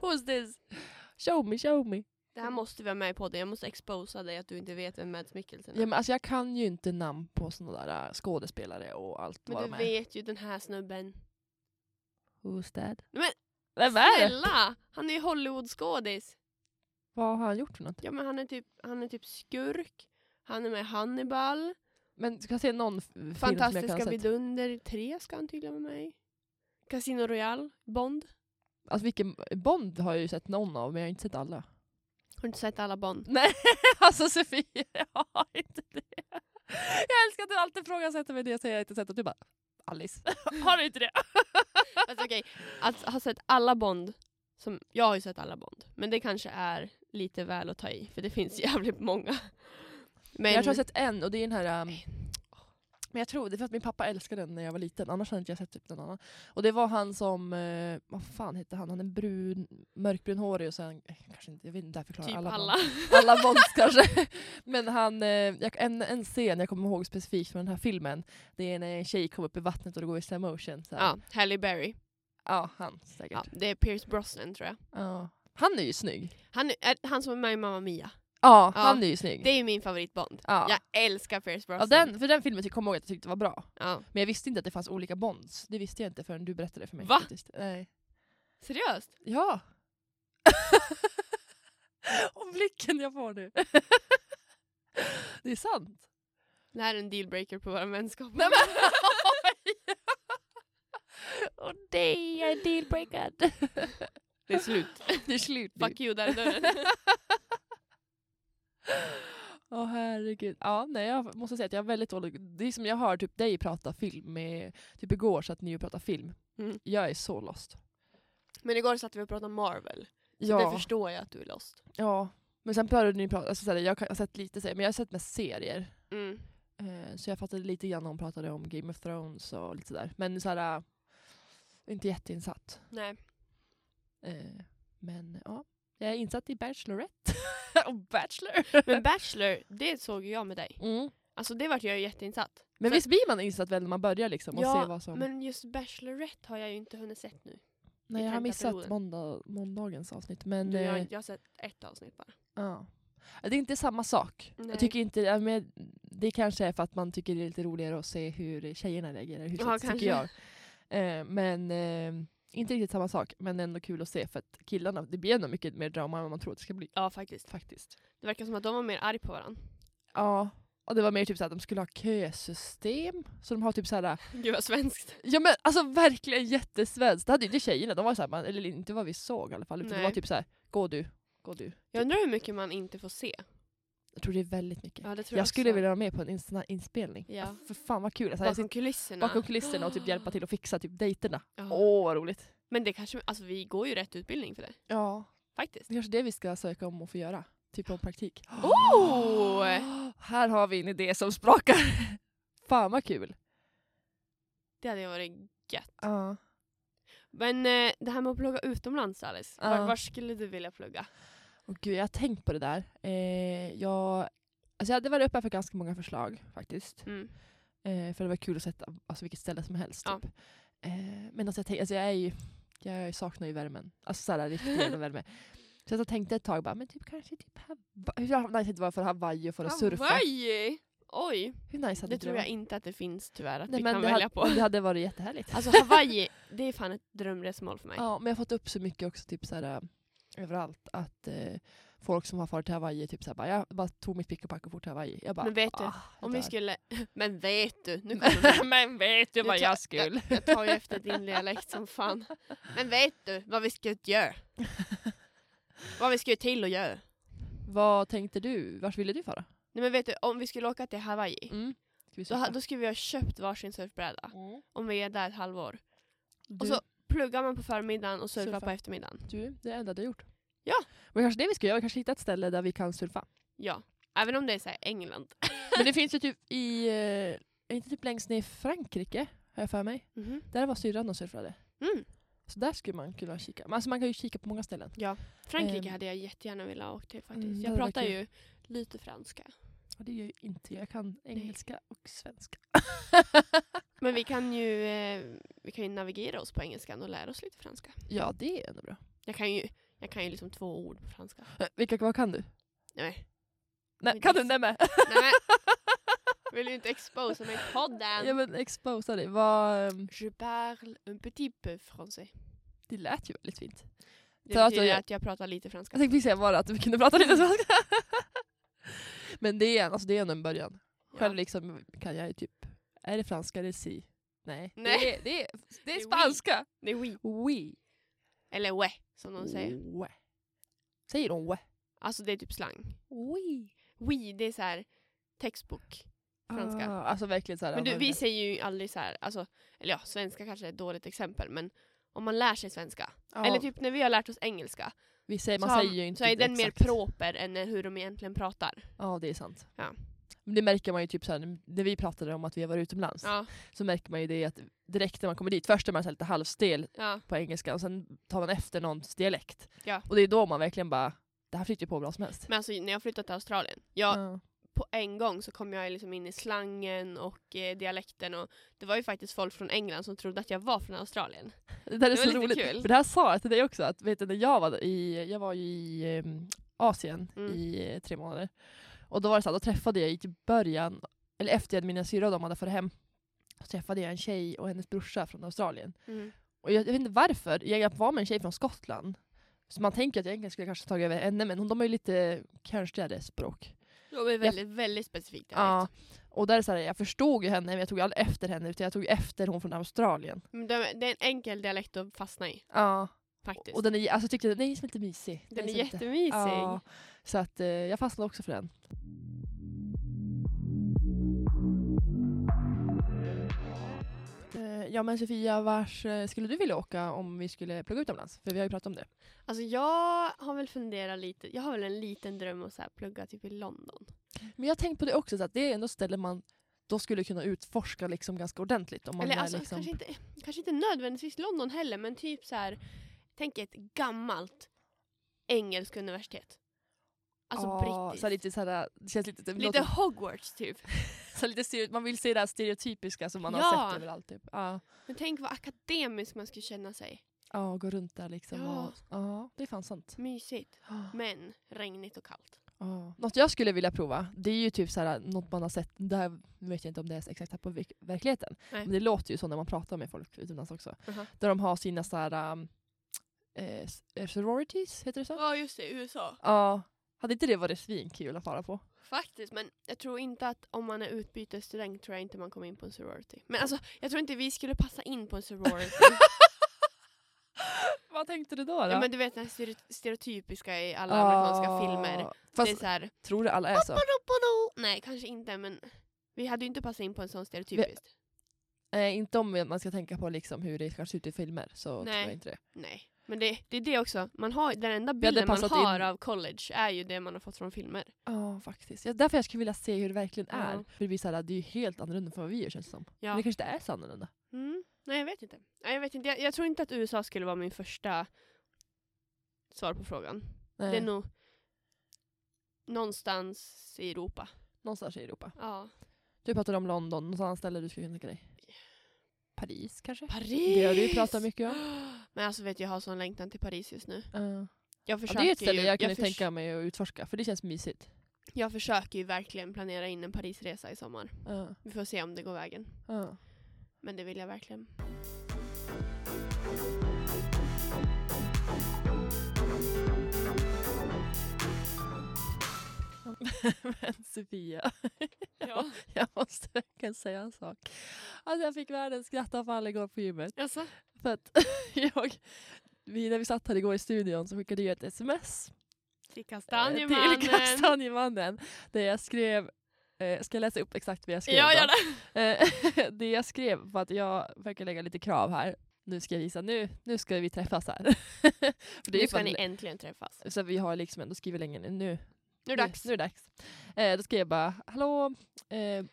Speaker 2: Who's this? Show me, show me.
Speaker 1: Det här måste vi ha med i podden. Jag måste exposa dig att du inte vet vem Mads Mikkelsen är.
Speaker 2: Ja, men alltså jag kan ju inte namn på sådana där äh, skådespelare och allt vad
Speaker 1: men
Speaker 2: de
Speaker 1: du
Speaker 2: är.
Speaker 1: vet ju den här snubben.
Speaker 2: Who's that?
Speaker 1: Men-
Speaker 2: vem är det?
Speaker 1: Snälla! Han är ju Hollywoodskådis.
Speaker 2: Vad har han gjort för något?
Speaker 1: Ja men han är, typ, han är typ skurk. Han är med i Hannibal.
Speaker 2: Men ska jag se någon f- film som jag kan ha
Speaker 1: Fantastiska
Speaker 2: sett?
Speaker 1: vidunder 3 ska han tydligen vara med i. Casino Royale, Bond.
Speaker 2: Alltså vilken Bond har jag ju sett någon av men jag har inte sett alla.
Speaker 1: Har du inte sett alla Bond?
Speaker 2: Nej, alltså Sofie, jag har inte det. Jag älskar att du alltid ifrågasätter mig det jag säger jag inte sett och du bara Alice, har du inte det?
Speaker 1: Alltså okej, att ha sett alla Bond, som, jag har ju sett alla Bond, men det kanske är lite väl att ta i, för det finns jävligt många. Men,
Speaker 2: Jag tror jag har sett en och det är den här um, men jag tror det är för att min pappa älskade den när jag var liten, annars hade inte jag sett typ någon annan. Och det var han som, eh, vad fan hette han, han är brun, mörkbrunhårig och sen, eh, kanske inte, jag vet inte, där förklarar
Speaker 1: typ alla.
Speaker 2: alla. barn. alla bonds kanske. Men han, eh, jag, en, en scen jag kommer ihåg specifikt från den här filmen, det är när en tjej kommer upp i vattnet och det går i slow motion. Så här.
Speaker 1: Ja, Halle Berry.
Speaker 2: ja, han säkert.
Speaker 1: Ja, det är Pierce Brosnan tror jag.
Speaker 2: Ja. Han är ju snygg.
Speaker 1: Han, är- är, han som är med i Mamma Mia.
Speaker 2: Ja,
Speaker 1: Ja.
Speaker 2: han är ju snygg.
Speaker 1: Det är ju min favorit Bond.
Speaker 2: ja.
Speaker 1: Jag älskar Pierce Brosnan.
Speaker 2: Ja, den, för den filmen tyck- kommer jag ihåg att jag tyckte var bra.
Speaker 1: Ja.
Speaker 2: Men jag visste inte att det fanns olika bonds. Det visste jag inte förrän du berättade det för mig.
Speaker 1: Va?
Speaker 2: Faktiskt. Nej.
Speaker 1: Seriöst?
Speaker 2: Ja. Och blicken jag får nu. det är sant.
Speaker 1: Det här är en dealbreaker på vår vänskap.
Speaker 2: Nej, men, Och det är dealbreaker.
Speaker 1: Det är slut.
Speaker 2: Det är slut nu.
Speaker 1: Fuck you, där är dörren.
Speaker 2: Åh herregud. Ja, nej, jag måste säga att jag är väldigt dålig. Det är som jag hör typ dig prata film med, typ igår satt ni och pratade film.
Speaker 1: Mm.
Speaker 2: Jag är så lost. Men,
Speaker 1: Men igår satt vi och pratade Marvel. Så
Speaker 2: ja,
Speaker 1: det förstår jag att du är lost.
Speaker 2: ja. men sen började ni prata, alltså, såhär, jag kan- jag har sett lite serier, men jag har sett mest serier.
Speaker 1: Mm.
Speaker 2: Eh, så jag fattade lite grann när hon pratade om Game of Thrones och lite sådär. Men såhär, äh, inte jätteinsatt.
Speaker 1: Nej.
Speaker 2: Eh, men ja, jag är insatt i Bachelorette. och Bachelor.
Speaker 1: Men Bachelor, det såg ju jag med dig.
Speaker 2: Mm.
Speaker 1: Alltså det vart jag ju jätteinsatt.
Speaker 2: Men
Speaker 1: För-
Speaker 2: visst blir man insatt väl när man börjar liksom? Och
Speaker 1: Ja,
Speaker 2: ser vad som...
Speaker 1: Men just Bachelorette har jag ju inte hunnit sett nu.
Speaker 2: Nej, jag har
Speaker 1: tänkta
Speaker 2: missat
Speaker 1: perioden.
Speaker 2: måndag, måndagens avsnitt. Men,
Speaker 1: Du, jag, har
Speaker 2: eh,
Speaker 1: inte- jag har sett ett avsnitt bara.
Speaker 2: ja. Det är inte samma sak.
Speaker 1: Nej.
Speaker 2: Jag tycker inte, ja, men det kanske är för att man tycker det är lite roligare att se hur tjejerna reagerar i huset,
Speaker 1: Ja,
Speaker 2: tycker jag. Eh, men eh, inte riktigt samma sak, men ändå kul att se för att killarna, det blir ändå mycket mer drama än vad man tror att det ska bli.
Speaker 1: Ja faktiskt.
Speaker 2: Faktiskt.
Speaker 1: Det verkar som att de var mer arg på varandra.
Speaker 2: Ja, och det var mer typ så att de skulle ha kösystem. Så de har typ så här
Speaker 1: Gud vad svenskt.
Speaker 2: Ja men alltså verkligen jättesvenskt. Det hade ju inte tjejerna, de var såhär, man- eller inte vad vi såg i alla fall. Utan det
Speaker 1: Nej.
Speaker 2: var typ såhär, gå du, gå du.
Speaker 1: Jag undrar hur mycket man inte får se.
Speaker 2: Jag tror det är väldigt mycket.
Speaker 1: Ja det tror
Speaker 2: jag
Speaker 1: jag,
Speaker 2: skulle
Speaker 1: också.
Speaker 2: vilja vara med på en in- sån här inspelning.
Speaker 1: Ja.
Speaker 2: Ah, För fan vad kul. Alltså, jag
Speaker 1: Bakom
Speaker 2: sitter
Speaker 1: kulisserna.
Speaker 2: bakom kulisserna och typ hjälpa till att fixa typ dejterna.
Speaker 1: Ja.
Speaker 2: Åh vad roligt.
Speaker 1: Men det kanske, alltså vi går ju rätt utbildning för det.
Speaker 2: Ja,
Speaker 1: Faktiskt.
Speaker 2: det är kanske det vi ska söka om och få göra. Typ om praktik.
Speaker 1: Oh!
Speaker 2: Här har vi en idé som sprakar. fan vad kul.
Speaker 1: Det hade ju varit gött.
Speaker 2: Ja.
Speaker 1: Men eh, det här med att plugga utomlands Alice,
Speaker 2: Ja.
Speaker 1: var, var skulle du vilja plugga?
Speaker 2: Och gud, jag har tänkt på det där. Eh, jag, alltså jag hade varit uppe för ganska många förslag faktiskt.
Speaker 1: Mm.
Speaker 2: Eh, för det var kul att sätta alltså, vilket ställe som helst.
Speaker 1: Ja.
Speaker 2: Typ. Eh, men alltså, jag, tänk, alltså, jag, är ju, jag saknar ju värmen. Alltså såhär riktigt jävla värme. Så jag tänkte ett tag bara, men typ kanske typ Hawaii. Hur nice hade det var för Hawaii och för att surfa.
Speaker 1: Hawaii! Oj,
Speaker 2: Hur nice hade
Speaker 1: det tror jag
Speaker 2: varit?
Speaker 1: inte att det finns tyvärr att
Speaker 2: Nej,
Speaker 1: vi
Speaker 2: men
Speaker 1: kan
Speaker 2: det
Speaker 1: välja
Speaker 2: hade,
Speaker 1: på.
Speaker 2: Det hade varit jättehärligt.
Speaker 1: Alltså Hawaii, det är fan ett drömresmål för mig.
Speaker 2: Ja, men jag har fått upp så mycket också typ såhär överallt att eh, folk som har farit till Hawaii typ såhär bara, jag bara tog mitt pick och pack och for till Hawaii. Jag bara,
Speaker 1: Men vet du,
Speaker 2: ah,
Speaker 1: Om
Speaker 2: det
Speaker 1: vi
Speaker 2: där.
Speaker 1: skulle... Men vet du, nu kommer vi- Men vet du
Speaker 2: Nu
Speaker 1: vad
Speaker 2: tar-
Speaker 1: jag skulle? Jag tar ju efter din dialekt som fan. Men vet du vad vi skulle göra? Vad vi skulle till och göra?
Speaker 2: Vad tänkte du? Vart ville du fara?
Speaker 1: Nej men vet du, om vi skulle åka till Hawaii,
Speaker 2: Mm. Ska vi
Speaker 1: då, ha-
Speaker 2: surfa?
Speaker 1: då skulle vi ha köpt varsin surfbräda.
Speaker 2: Mm.
Speaker 1: Om vi är där ett halvår.
Speaker 2: Du,
Speaker 1: Och så pluggar man på förmiddagen och surfar
Speaker 2: Surfa.
Speaker 1: på eftermiddagen.
Speaker 2: du, det är det enda du har gjort.
Speaker 1: Ja.
Speaker 2: Men kanske det vi ska göra, vi kanske hittar ett ställe där vi kan surfa.
Speaker 1: Ja. Även om det är så här England.
Speaker 2: Men det finns ju typ i, eh, är inte typ längst ner i Frankrike, har jag för mig.
Speaker 1: Mhm.
Speaker 2: Där var syrran och surfade.
Speaker 1: Mm.
Speaker 2: Så där skulle man kunna kika. Men Alltså man kan ju kika på många ställen.
Speaker 1: Frankrike
Speaker 2: Ehm.
Speaker 1: hade jag jättegärna velat åka till faktiskt.
Speaker 2: Mm, det
Speaker 1: jag
Speaker 2: hade
Speaker 1: pratar
Speaker 2: varit
Speaker 1: ju lite franska.
Speaker 2: Och det gör ju inte jag. Jag kan engelska och svenska.
Speaker 1: Men vi kan ju, eh, vi kan ju navigera oss på engelskan och lära oss lite franska.
Speaker 2: Ja, det är ändå bra.
Speaker 1: Jag kan ju, jag kan ju liksom två ord på franska.
Speaker 2: Eh, Vilka vad kan du?
Speaker 1: Nej.
Speaker 2: Nej,
Speaker 1: Men
Speaker 2: kan
Speaker 1: det-
Speaker 2: du inte med?
Speaker 1: Nej men, vill du inte exposa mig i podden?
Speaker 2: Ja men exposa dig. Vad, ehm,
Speaker 1: Je parle un petit peu français.
Speaker 2: det lät ju väldigt fint.
Speaker 1: Det
Speaker 2: Så att
Speaker 1: betyder
Speaker 2: jag-
Speaker 1: att jag pratar lite franska.
Speaker 2: Jag tänkte precis säga bara att vi kunde prata lite
Speaker 1: Mm.
Speaker 2: svenska. men det är, alltså, det är ändå en början. Själv
Speaker 1: Ja.
Speaker 2: liksom kan jag ju typ, är det franska eller si? Nej.
Speaker 1: Nej.
Speaker 2: Det, är, det, är, det är
Speaker 1: oui.
Speaker 2: spanska.
Speaker 1: Det är oui.
Speaker 2: Oui.
Speaker 1: Eller ouais, som de säger.
Speaker 2: Oui. Säger de oui?
Speaker 1: Alltså det är typ slang.
Speaker 2: Oui.
Speaker 1: Oui, det är så här textbok. Franska.
Speaker 2: Ah, alltså verkligen så här.
Speaker 1: Men du,
Speaker 2: annorlunda.
Speaker 1: vi säger ju aldrig så här, alltså, eller ja, svenska kanske är ett dåligt exempel, men om man lär sig svenska.
Speaker 2: Ja,
Speaker 1: Eller typ när vi har lärt oss engelska,
Speaker 2: vi säger, man
Speaker 1: så, har-
Speaker 2: säger ju inte typ
Speaker 1: så är den
Speaker 2: exakt.
Speaker 1: mer proper än hur de egentligen pratar.
Speaker 2: Ja, det är sant.
Speaker 1: Ja.
Speaker 2: Men det märker man ju typ såhär, när vi pratade om att vi har varit utomlands,
Speaker 1: Ja,
Speaker 2: så märker man ju det att direkt när man kommer dit, först är man så här lite halvstel
Speaker 1: ja,
Speaker 2: på engelska och sen tar man efter någons dialekt.
Speaker 1: Ja.
Speaker 2: Och det är då man verkligen bara, det här flyter ju på bra som helst.
Speaker 1: Men alltså när jag flyttade till Australien, jag,
Speaker 2: Ja.
Speaker 1: på en gång så kom jag liksom in i slangen och eh, dialekten och det var ju faktiskt folk från England som trodde att jag var från Australien.
Speaker 2: Det där är
Speaker 1: Det var
Speaker 2: så
Speaker 1: lite
Speaker 2: roligt.
Speaker 1: kul.
Speaker 2: För det här sa jag till dig också, att vet du, när jag var i, jag var ju i ehm, Asien
Speaker 1: Mm.
Speaker 2: i eh, tre månader. Och då var det så här, då träffade jag i typ början, eller efter att mina syrror och de hade farit hem, så träffade jag en tjej och hennes brorsa från Australien. Och jag, jag vet inte varför, jag var med en tjej från Skottland. Så man tänker att jag egentligen skulle kanske tagit över henne, men hon, de har ju lite konstigare språk.
Speaker 1: Det var väldigt, väldigt specifikt dialekt.
Speaker 2: Ja. Och där är det så här, jag förstod ju henne, men jag tog aldrig efter henne, utan jag tog efter hon från Australien.
Speaker 1: Men det, det är en enkel dialekt att fastna i
Speaker 2: Ja.
Speaker 1: faktiskt.
Speaker 2: Och den är, alltså, jag tyckte den är liksom lite mysig.
Speaker 1: den är
Speaker 2: så lite-
Speaker 1: jättemysig.
Speaker 2: Ja, så att eh, jag fastnade också för den. Eh, Ja men Sofia, vars eh, skulle du vilja åka om vi skulle plugga utomlands? För vi har ju pratat om det.
Speaker 1: Alltså jag har väl funderat lite, jag har väl en liten dröm om att så här plugga typ i London.
Speaker 2: Men jag har tänkt på det också, så att det är ändå ställen man då skulle kunna utforska liksom ganska ordentligt. Om man
Speaker 1: Eller
Speaker 2: är
Speaker 1: alltså
Speaker 2: liksom,
Speaker 1: kanske, inte, kanske inte nödvändigtvis London heller men typ så här, tänk ett gammalt engelskt universitet. Alltså
Speaker 2: Ja,
Speaker 1: brittiskt.
Speaker 2: Så här lite, så här, det känns lite, det
Speaker 1: Lite
Speaker 2: låter-
Speaker 1: Hogwarts typ.
Speaker 2: så här, lite stereo, man vill se det här stereotypiska som man
Speaker 1: Ja.
Speaker 2: har sett överallt. Typ. Ja,
Speaker 1: Men tänk vad akademisk man skulle känna sig.
Speaker 2: ja gå runt där liksom.
Speaker 1: Ja.
Speaker 2: Ja, och, ja det är fan sant.
Speaker 1: Mysigt.
Speaker 2: Ja.
Speaker 1: Men regnigt och kallt.
Speaker 2: Ja. Något jag skulle vilja prova, det är ju typ så här, något man har sett, det här vet jag inte om det är exakt här på verk- verkligheten,
Speaker 1: Nej. Uh-huh.
Speaker 2: men det låter ju så när man pratar med folk utomlands också.
Speaker 1: Aha.
Speaker 2: Där de har sina så här, um, eh, s- eh, sororities, heter det så?
Speaker 1: Ja just det, USA.
Speaker 2: Ja. Hade inte det varit svinkul att fara på?
Speaker 1: Faktiskt men jag tror inte att om man är utbytesstudent tror jag inte man kommer in på en sorority. Men alltså jag tror inte vi skulle passa in på en sorority.
Speaker 2: Vad tänkte du då? då?
Speaker 1: Ja men du vet den här stereo- stereotypiska i alla amerikanska
Speaker 2: Ah,
Speaker 1: filmer.
Speaker 2: Fast
Speaker 1: det är såhär...
Speaker 2: tror du alla är så?
Speaker 1: Nej kanske inte men vi hade ju inte passat in på en sån stereotypiskt.
Speaker 2: Eh, inte om man ska tänka på liksom hur det kanske ser ut i filmer. Så
Speaker 1: Nej.
Speaker 2: tror jag inte det.
Speaker 1: Nej. Men det, det är det också, man har, den enda
Speaker 2: hade
Speaker 1: bilden man
Speaker 2: passat
Speaker 1: har
Speaker 2: in.
Speaker 1: av college är ju det man har fått från filmer.
Speaker 2: Ja faktiskt. Ja, därför jag skulle vilja se hur det verkligen
Speaker 1: Ja.
Speaker 2: är. För det, blir så här, det är ju helt annorlunda från vad vi gör känns det som.
Speaker 1: Ja.
Speaker 2: Men det kanske inte är så annorlunda.
Speaker 1: Mm. Nej jag vet inte. Nej, jag, vet inte. Jag, jag tror inte att USA skulle vara min första svar på frågan.
Speaker 2: Nej.
Speaker 1: Det är nog någonstans i Europa.
Speaker 2: Någonstans i Europa.
Speaker 1: Ja.
Speaker 2: Du pratade om London, något annat ställe du skulle kunna tänka dig? Paris kanske?
Speaker 1: Paris!
Speaker 2: Det har vi ju pratat mycket
Speaker 1: Men alltså vet jag, jag har sån längtan till Paris just nu.
Speaker 2: Ja.
Speaker 1: Jag
Speaker 2: Ja,
Speaker 1: försöker
Speaker 2: det är ett ställe
Speaker 1: ju,
Speaker 2: jag kunde
Speaker 1: förs-
Speaker 2: tänka mig att utforska för det känns mysigt.
Speaker 1: Jag försöker ju verkligen planera in en Parisresa i sommar.
Speaker 2: Ja.
Speaker 1: Vi får se om det går vägen.
Speaker 2: Ja.
Speaker 1: Men det vill jag verkligen.
Speaker 2: Men Sofia,
Speaker 1: Ja.
Speaker 2: jag måste verkligen säga en sak. Alltså jag fick världens skrattavfall igår på gymmet.
Speaker 1: Jaså?
Speaker 2: För att jag, vi, när vi satt här igår i studion så skickade jag ett sms
Speaker 1: Till
Speaker 2: eh,
Speaker 1: kastanjemannen.
Speaker 2: till Kastanjemannen där jag skrev, eh, ska jag läsa upp exakt vad jag skrev?
Speaker 1: Ja,
Speaker 2: då?
Speaker 1: gör det.
Speaker 2: Eh, det jag skrev var att jag verkar lägga lite krav här. Nu ska jag visa, nu, nu ska vi träffas här. För det är
Speaker 1: Nu
Speaker 2: ju
Speaker 1: ska
Speaker 2: fan,
Speaker 1: ni äntligen träffas.
Speaker 2: så vi har liksom ändå skrivit länge nu. Nu,
Speaker 1: Nu är det dags.
Speaker 2: Nu, är det dags. Eh, då skrev jag bara, hallå, eh,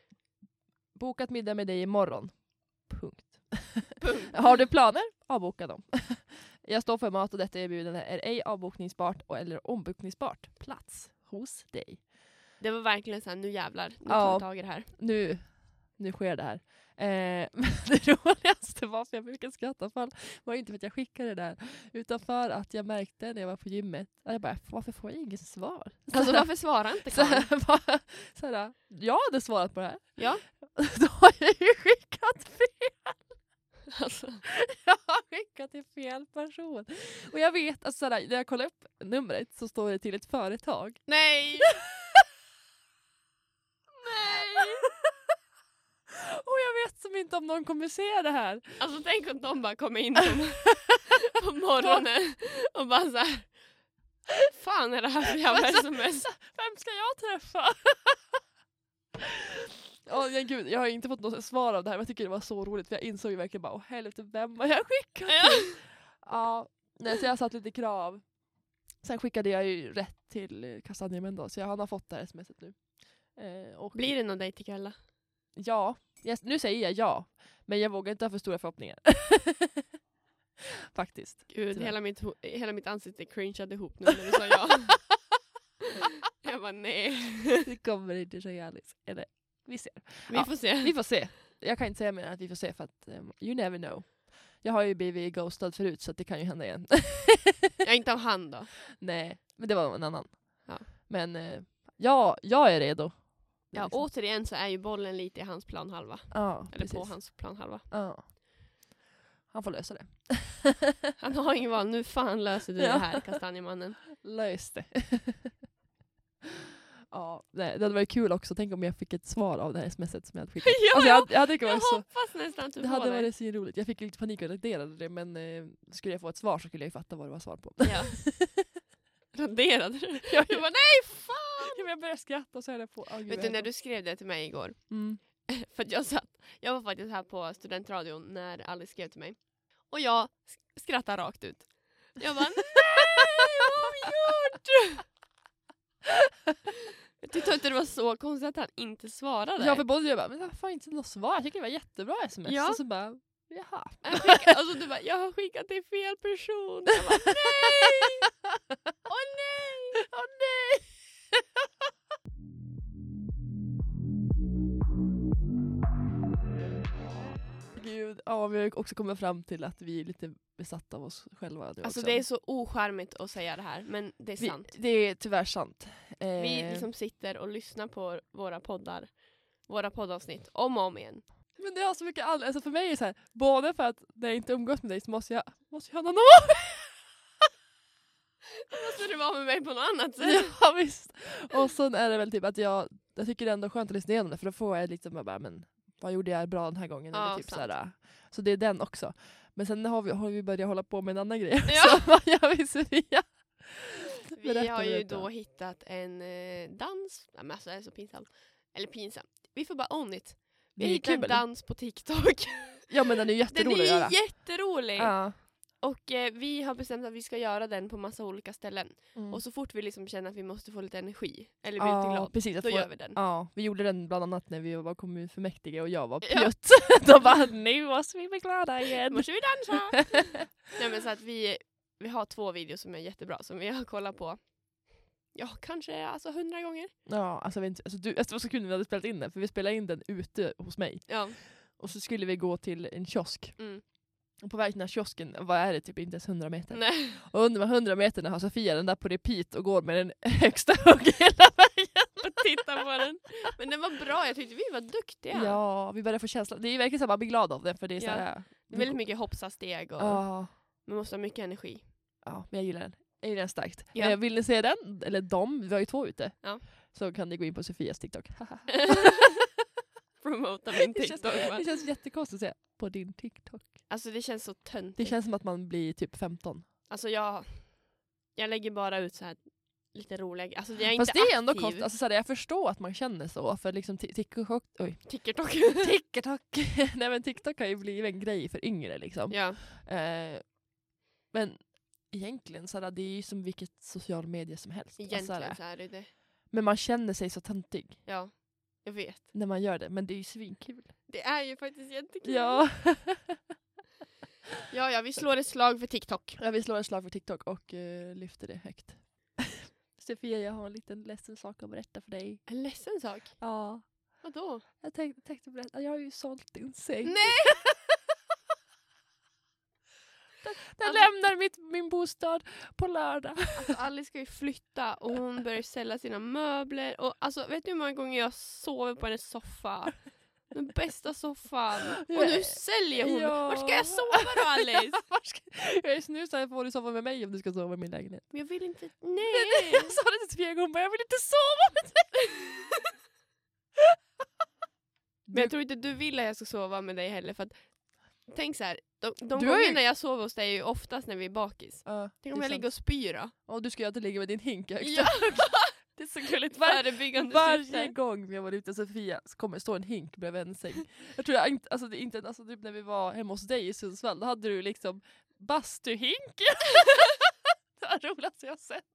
Speaker 2: bokat middag med dig imorgon. Punkt.
Speaker 1: Punkt.
Speaker 2: Har du planer? Avboka dem. jag står för mat och detta erbjudande är ej avbokningsbart och eller ombokningsbart. Plats hos dig.
Speaker 1: Det var verkligen såhär, nu jävlar. Nu tar vi
Speaker 2: Ja.
Speaker 1: tag i det här.
Speaker 2: nu, nu sker det här. Eh, men det roligaste var, för jag brukar skratta för allt, var inte för att jag skickade det där, utan för att jag märkte när jag var på gymmet, att jag bara, varför får jag inget svar?
Speaker 1: Alltså varför svarar inte
Speaker 2: Så
Speaker 1: Karin?
Speaker 2: här, bara, så här, jag hade svarat på det här.
Speaker 1: Ja.
Speaker 2: Då har jag ju skickat fel.
Speaker 1: Alltså,
Speaker 2: Jag har skickat till fel person. Och jag vet, alltså, så här, när jag kollar upp numret så står det till ett företag.
Speaker 1: nej! nej!
Speaker 2: Och jag vet som inte om någon kommer se det här.
Speaker 1: Alltså tänk om de bara kommer in på, på morgonen och bara såhär Fan är det här för jävla
Speaker 2: Alltså,
Speaker 1: sms?
Speaker 2: Vem ska jag träffa? Åh men gud, jag har inte fått något svar av det här men jag tycker det var så roligt för jag insåg ju verkligen bara åh helvete vem har jag skickat? Ja, nej, så jag satt lite krav. Sen skickade jag ju rätt till eh, Kastanjemän då så jag, han har fått det här smset nu. Eh, och
Speaker 1: Blir det någon dejt ikväll
Speaker 2: Ja, jag, nu säger jag ja. Men jag vågar inte ha för stora förhoppningar. Faktiskt.
Speaker 1: Gud,
Speaker 2: Tyvärr.
Speaker 1: hela mitt, ho- hela mitt ansikte cringeade ihop nu när du sa ja. Jag bara nej.
Speaker 2: Det kommer inte säga Alice. Eller vi ser.
Speaker 1: Vi
Speaker 2: Ja.
Speaker 1: får se.
Speaker 2: Vi får se. Jag kan inte säga mer än att vi får se för att um, you never know. Jag har ju blivit ghostad förut så att det kan ju hända igen.
Speaker 1: Ja, inte av han då.
Speaker 2: Nej, men det var en annan.
Speaker 1: Ja.
Speaker 2: Men eh, ja, jag är redo.
Speaker 1: Ja,
Speaker 2: Liksom.
Speaker 1: återigen så är ju bollen lite i hans planhalva.
Speaker 2: ja,
Speaker 1: Eller på
Speaker 2: precis.
Speaker 1: hans planhalva.
Speaker 2: Ja. Han får lösa det.
Speaker 1: Han har ingen val. Nu fan löser du
Speaker 2: Ja.
Speaker 1: det här, kastanjemannen.
Speaker 2: Lös det. ja, nej, det hade varit kul också. Tänk om jag fick ett svar av det här smset som jag hade skickat.
Speaker 1: Ja,
Speaker 2: alltså,
Speaker 1: ja.
Speaker 2: jag, jag, tycker det
Speaker 1: Jag
Speaker 2: var så,
Speaker 1: hoppas nästan att du
Speaker 2: det
Speaker 1: får
Speaker 2: hade
Speaker 1: det.
Speaker 2: varit så roligt. Jag fick lite panik och raderade det men eh, skulle jag få ett svar så skulle jag ju fatta vad det var svar på.
Speaker 1: Ja. Raderade du?
Speaker 2: jag,
Speaker 1: Jag bara nej fan!
Speaker 2: jag började skratta och så höll jag på. Oh,
Speaker 1: Vet du när du skrev det till mig igår?
Speaker 2: Mm.
Speaker 1: För att jag satt, jag var faktiskt här på studentradion när Alice skrev till mig. Och jag sk- skrattade rakt ut. Jag bara nej vad har vi gjort? Jag tyckte inte det var så konstigt att han inte svarade.
Speaker 2: Ja för både jag bara, men varför har jag inte något svar? Jag tycker det var jättebra sms.
Speaker 1: Ja.
Speaker 2: Och så bara, jaha.
Speaker 1: Han skickade- alltså du bara jag har skickat till fel person. Jag bara nej! Åh nej!
Speaker 2: Åh nej! Gud, ja vi har också kommit fram till att vi är lite besatta av oss själva. Du
Speaker 1: Alltså
Speaker 2: också.
Speaker 1: det är så ocharmigt att säga det här men det är
Speaker 2: vi,
Speaker 1: sant.
Speaker 2: Det är tyvärr sant. Eh,
Speaker 1: Vi liksom sitter och lyssnar på våra poddar, våra poddavsnitt om och om igen.
Speaker 2: Men det har så mycket anledning, alltså för mig är det så här, både för att när jag inte umgås med dig så måste jag, måste jag ha någon
Speaker 1: Måste du vara med mig på något annat sätt?
Speaker 2: Ja visst. Och sen är det väl typ att jag, jag tycker det är ändå skönt att lyssna igenom det för då får jag lite bara, men vad gjorde jag bra den här gången?
Speaker 1: Ja,
Speaker 2: Eller typ så,
Speaker 1: sant.
Speaker 2: här, så det är den också. Men sen har vi, har vi börjat hålla på med en annan grej.
Speaker 1: Ja.
Speaker 2: Så vad gör vi Sofia?
Speaker 1: Vi har ju
Speaker 2: berätta.
Speaker 1: då hittat en eh, dans, nej men alltså det är så pinsamt. Eller pinsamt, vi får bara own it. Vi
Speaker 2: Det är
Speaker 1: hittade en
Speaker 2: kul.
Speaker 1: dans på TikTok.
Speaker 2: Ja men den är ju
Speaker 1: Den är
Speaker 2: jätterolig att göra.
Speaker 1: ju jätterolig!
Speaker 2: Ja.
Speaker 1: Och eh, vi har bestämt att vi ska göra den på massa olika ställen.
Speaker 2: Mm.
Speaker 1: Och så fort vi liksom känner att vi måste få lite energi, eller blir lite
Speaker 2: Ja,
Speaker 1: glada,
Speaker 2: precis. Att
Speaker 1: då
Speaker 2: få,
Speaker 1: gör vi den.
Speaker 2: ja, vi gjorde den bland annat när vi var kommunfullmäktige och jag var
Speaker 1: Ja.
Speaker 2: pjutt. Då bara nu måste vi bli glada
Speaker 1: Nu
Speaker 2: igen.
Speaker 1: måste vi dansa! Nej men så att vi, vi har två videos som är jättebra som vi har kollat på. Ja, kanske alltså hundra gånger.
Speaker 2: Ja, alltså, vi, inte- alltså, du, alltså, det var så kul när vi hade spelat in den för vi spelade in den ute hos mig.
Speaker 1: Ja.
Speaker 2: Och så skulle vi gå till en kiosk.
Speaker 1: Mm.
Speaker 2: Och på väg till den här kiosken, vad är det, typ inte ens 100 meter.
Speaker 1: Nej.
Speaker 2: Och under de här 100 meterna har Sofia den där på repeat och går med den högsta hugg hela vägen.
Speaker 1: Och titta på den. Men den var bra, jag tyckte vi var duktiga.
Speaker 2: Ja, vi börjar få känslan. Det är verkligen så att man blir glad av det för det är
Speaker 1: Ja.
Speaker 2: såhär...
Speaker 1: Det är väldigt mycket hoppsa-steg och
Speaker 2: Ja,
Speaker 1: man måste ha mycket energi.
Speaker 2: ja, men jag gillar den. Jag gillar den starkt.
Speaker 1: Ja.
Speaker 2: Eh, vill ni se den? Eller dem? Vi har ju två ute.
Speaker 1: Ja.
Speaker 2: så kan ni gå in på Sofias TikTok.
Speaker 1: Promota min
Speaker 2: Det
Speaker 1: TikTok.
Speaker 2: känns,
Speaker 1: va?
Speaker 2: det känns jättekonstigt att säga på din TikTok.
Speaker 1: Alltså det känns så
Speaker 2: Det
Speaker 1: töntigt.
Speaker 2: känns som att man blir typ 15.
Speaker 1: Alltså jag, jag lägger bara ut så här lite roliga Alltså jag är
Speaker 2: Fast det
Speaker 1: inte
Speaker 2: är ändå
Speaker 1: aktiv.
Speaker 2: konstigt, alltså, såhär, jag förstår att man känner så. För liksom ti- TikTok, oj,
Speaker 1: TikTok.
Speaker 2: Alltså, TikTok. Nej, men TikTok har ju blivit en grej för yngre. Liksom.
Speaker 1: ja.
Speaker 2: Eh, men egentligen, såhär, det är ju som vilket social medie som helst. Alltså,
Speaker 1: Egentligen
Speaker 2: såhär,
Speaker 1: så är det det.
Speaker 2: men man känner sig så töntig
Speaker 1: Ja. Jag vet.
Speaker 2: när man gör det. Men det är ju svinkul.
Speaker 1: Det är ju faktiskt jättekul.
Speaker 2: Ja.
Speaker 1: ja, ja, vi slår ett slag för TikTok.
Speaker 2: ja, vi slår ett slag för TikTok och eh, lyfter det högt. Sofia, jag har en liten ledsen sak att berätta för dig.
Speaker 1: En ledsen sak.
Speaker 2: Ja.
Speaker 1: Vadå?
Speaker 2: Jag tänkte, tänkte berätta, jag har ju sålt din säng.
Speaker 1: Nej!
Speaker 2: Den
Speaker 1: Alltså-
Speaker 2: lämnar mitt, min bostad på lördag.
Speaker 1: Alltså Alice ska ju flytta och hon börjar sälja sina möbler. Och alltså, vet du hur många gånger jag sover på hennes soffa? Den bästa soffan. Och nu säljer hon.
Speaker 2: Ja.
Speaker 1: Vart ska jag sova då Alice?
Speaker 2: Var ska- jag är snusad, får du sova med mig om du ska sova i min lägenhet?
Speaker 1: Men jag vill inte.
Speaker 2: Nej.
Speaker 1: Nej!
Speaker 2: Jag sa det till Svea, hon bara jag vill inte sova med dig.
Speaker 1: Men jag tror inte du vill att jag ska sova med dig heller. För att, tänk så här. De, de
Speaker 2: Du har ju-
Speaker 1: gångerna jag sover hos dig är ju oftast när vi är bakis.
Speaker 2: Ja,
Speaker 1: Tänk om
Speaker 2: det är
Speaker 1: jag ligger och spyr då?
Speaker 2: sant. Och du ska ju alltid ligga med din hink högst
Speaker 1: Ja.
Speaker 2: upp.
Speaker 1: Det är så gulligt.
Speaker 2: Var-
Speaker 1: Förebyggande
Speaker 2: Varje
Speaker 1: syfte.
Speaker 2: gång vi har varit ute hos Sofia så kommer det stå en hink bredvid hennes säng. Jag tror jag inte, alltså det är inte, alltså typ när vi var hemma hos dig i Sundsvall då hade du liksom bastuhinken. det var det roligaste jag har sett.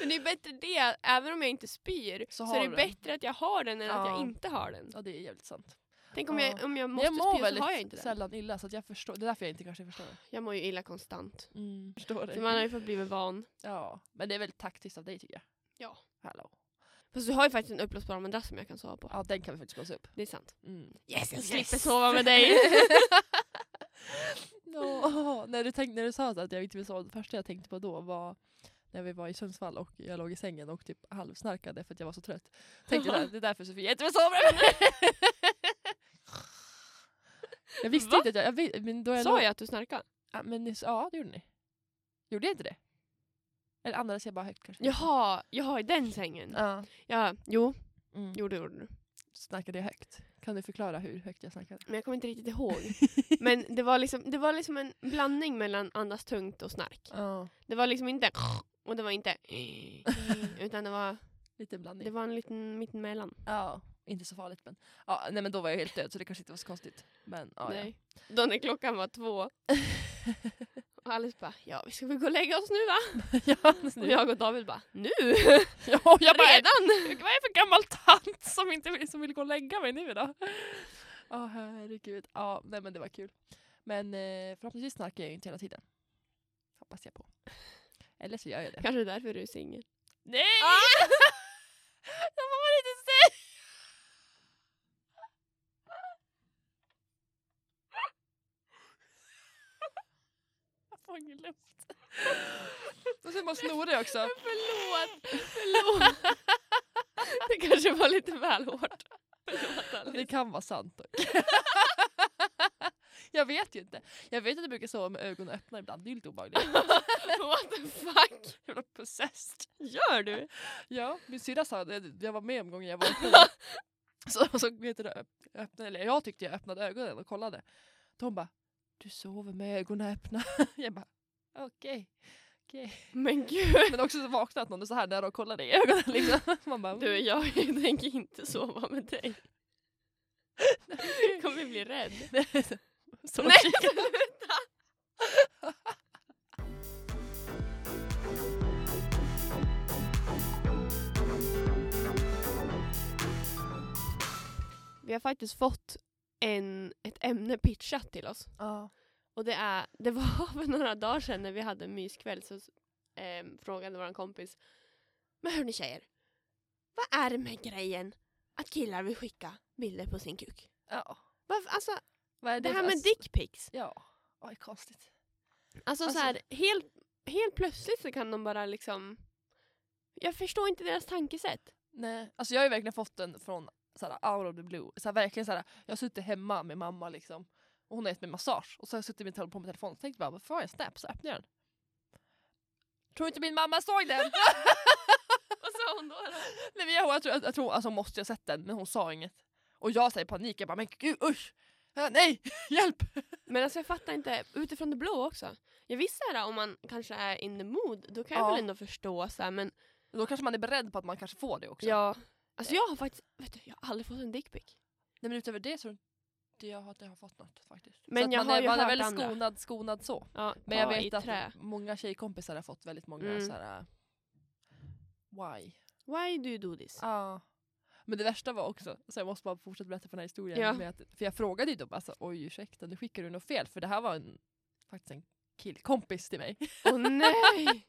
Speaker 1: Men det är bättre det, även om jag inte spyr, så,
Speaker 2: Så
Speaker 1: är
Speaker 2: har
Speaker 1: det
Speaker 2: du den.
Speaker 1: bättre att jag har den än att jag
Speaker 2: Ja.
Speaker 1: inte har den.
Speaker 2: Ja det är jävligt sant.
Speaker 1: Tänk om,
Speaker 2: Ja.
Speaker 1: jag, om jag
Speaker 2: Men
Speaker 1: måste
Speaker 2: jag mår
Speaker 1: spy och så har jag
Speaker 2: väldigt
Speaker 1: inte den.
Speaker 2: sällan illa så att jag förstår, det är därför jag inte kanske förstår det.
Speaker 1: Jag mår ju illa konstant.
Speaker 2: Förstår
Speaker 1: Så Mm. man har ju fått blivit van.
Speaker 2: Ja, men det är väldigt taktiskt av dig tycker jag.
Speaker 1: Ja.
Speaker 2: Hallå.
Speaker 1: Fast du har ju faktiskt en uppblåsbar madrass som jag kan sova på.
Speaker 2: Ja den kan vi faktiskt blåsa upp.
Speaker 1: Det är sant.
Speaker 2: Mm.
Speaker 1: Yes, jag
Speaker 2: Yes.
Speaker 1: slipper sova med dig.
Speaker 2: Nå, när, du tänkte, när du sa så att jag inte vill sova, det första jag tänkte på då var när vi var i Sundsvall och jag låg i sängen och typ halvsnarkade för att jag var så trött. Tänkte jag såhär, det är därför Sofia inte vill sova med mig. Jag visste
Speaker 1: Va?
Speaker 2: inte att jag... jag vet, men då jag
Speaker 1: Sa
Speaker 2: låg-
Speaker 1: jag att du snarkade?
Speaker 2: Ja, men, ni- ja, det gjorde ni. Gjorde jag inte det? Eller andades jag bara högt kanske?
Speaker 1: Jaha, jaha, i den sängen.
Speaker 2: Ja.
Speaker 1: Ja, jo,
Speaker 2: Mm.
Speaker 1: jo det gjorde du.
Speaker 2: Snarkade jag högt? Kan du förklara hur högt jag snarkade?
Speaker 1: Men jag kommer inte riktigt ihåg. Men det var liksom, det var liksom en blandning mellan andas tungt och snark.
Speaker 2: Ja,
Speaker 1: Det var liksom inte och det var inte utan det var,
Speaker 2: lite blandning.
Speaker 1: det var en liten mittemellan.
Speaker 2: Ja, inte så farligt men. Ja, nej men då var jag helt död så det kanske inte var så konstigt. Men ja, ja.
Speaker 1: Nej. Då när klockan var två och Alice bara, ja vi ska väl gå och lägga oss nu va?
Speaker 2: ja,
Speaker 1: Och
Speaker 2: nu.
Speaker 1: jag och David bara, nu?
Speaker 2: ja, och jag bara,
Speaker 1: Redan?
Speaker 2: vad är jag för gammal tant som inte vill, som vill gå och lägga mig nu då? Ja, herregud. Ja, nej men det var kul. Men eh, förhoppningsvis snarkar jag ju inte hela tiden. Hoppas jag på. Eller så gör jag det.
Speaker 1: Kanske är därför du är singel.
Speaker 2: Nej!
Speaker 1: Ah!
Speaker 2: Jag får inte säga! Jag får ingen luft. Och sen bara snorig också.
Speaker 1: Förlåt, förlåt. Det kanske var lite väl hårt. Förlåt
Speaker 2: Det
Speaker 1: Alice.
Speaker 2: kan vara sant dock. Jag vet ju inte. Jag vet att jag brukar sova med ögonen öppna ibland. Det är ju lite obehagligt.
Speaker 1: What the fuck?
Speaker 2: Jävla possessed.
Speaker 1: Gör du?
Speaker 2: Ja, min syrra sa det. Jag var med om gången jag var i så, så vet du, öpp- öppnade, eller Jag tyckte jag öppnade ögonen och kollade. Då hon bara, du sover med ögonen öppna. Jag bara, okej. okej.
Speaker 1: Men gud.
Speaker 2: Men också så vaknat någon så här när de kollade i ögonen. Liksom. Man bara,
Speaker 1: Du, jag tänker inte sova med dig. Jag kommer bli rädd.
Speaker 2: Nej. Så
Speaker 1: Nej,
Speaker 2: kikar-
Speaker 1: sluta! Vi har faktiskt fått en, ett ämne pitchat till oss.
Speaker 2: Ja.
Speaker 1: Och det, är, det var för några dagar sedan när vi hade en myskväll så eh, frågade vår kompis Men hörni tjejer, vad är det med grejen att killar vill skicka bilder på sin kuk?
Speaker 2: ja.
Speaker 1: Varför, alltså,
Speaker 2: Vad är
Speaker 1: det här
Speaker 2: för-
Speaker 1: med dickpics.
Speaker 2: Ja. Oj, konstigt.
Speaker 1: Alltså,
Speaker 2: Alltså-
Speaker 1: så här, helt, helt plötsligt så kan de bara liksom... Jag förstår inte deras tankesätt.
Speaker 2: Nej. Alltså jag har ju verkligen fått den från såhär, out of the blue. Såhär, verkligen såhär, jag har suttit hemma med mamma liksom, och hon har gett mig massage. Och så har jag suttit med telefon på min telefon och tänkt bara, varför har jag en snap? Så öppnar jag den. Tror inte min mamma såg den?
Speaker 1: Och så sa hon då? då?
Speaker 2: Nej, men jag, jag, tror, jag, jag tror alltså hon måste ha sett den men hon sa inget. Och jag säger i panik, jag bara men gud usch! Äh, Nej! Hjälp!
Speaker 1: Men alltså jag fattar inte, utifrån det blå också. Jag visste här, om man kanske är in the mood, då kan jag
Speaker 2: Ja.
Speaker 1: väl ändå förstå så här, men
Speaker 2: Då kanske man är beredd på att man kanske får det också.
Speaker 1: ja. Alltså jag har faktiskt, vet du, jag har aldrig fått en dickpic.
Speaker 2: Nej, men utöver det så det jag har inte jag fått något faktiskt.
Speaker 1: Men
Speaker 2: så att
Speaker 1: jag
Speaker 2: man
Speaker 1: har
Speaker 2: är,
Speaker 1: ju
Speaker 2: man är
Speaker 1: hört
Speaker 2: väldigt
Speaker 1: andra.
Speaker 2: skonad, skonad så.
Speaker 1: Ja,
Speaker 2: Men jag
Speaker 1: ta i
Speaker 2: vet att
Speaker 1: trä.
Speaker 2: många tjejkompisar har fått väldigt många
Speaker 1: Mm.
Speaker 2: så här. äh, Why?
Speaker 1: Why do you do this?
Speaker 2: Ja. Men det värsta var också, så jag måste bara fortsätta berätta på den här historien.
Speaker 1: Ja.
Speaker 2: Med att, för jag frågade ju då bara så, oj ursäkta nu skickar du något fel för det här var en, faktiskt en killkompis till mig.
Speaker 1: Åh nej!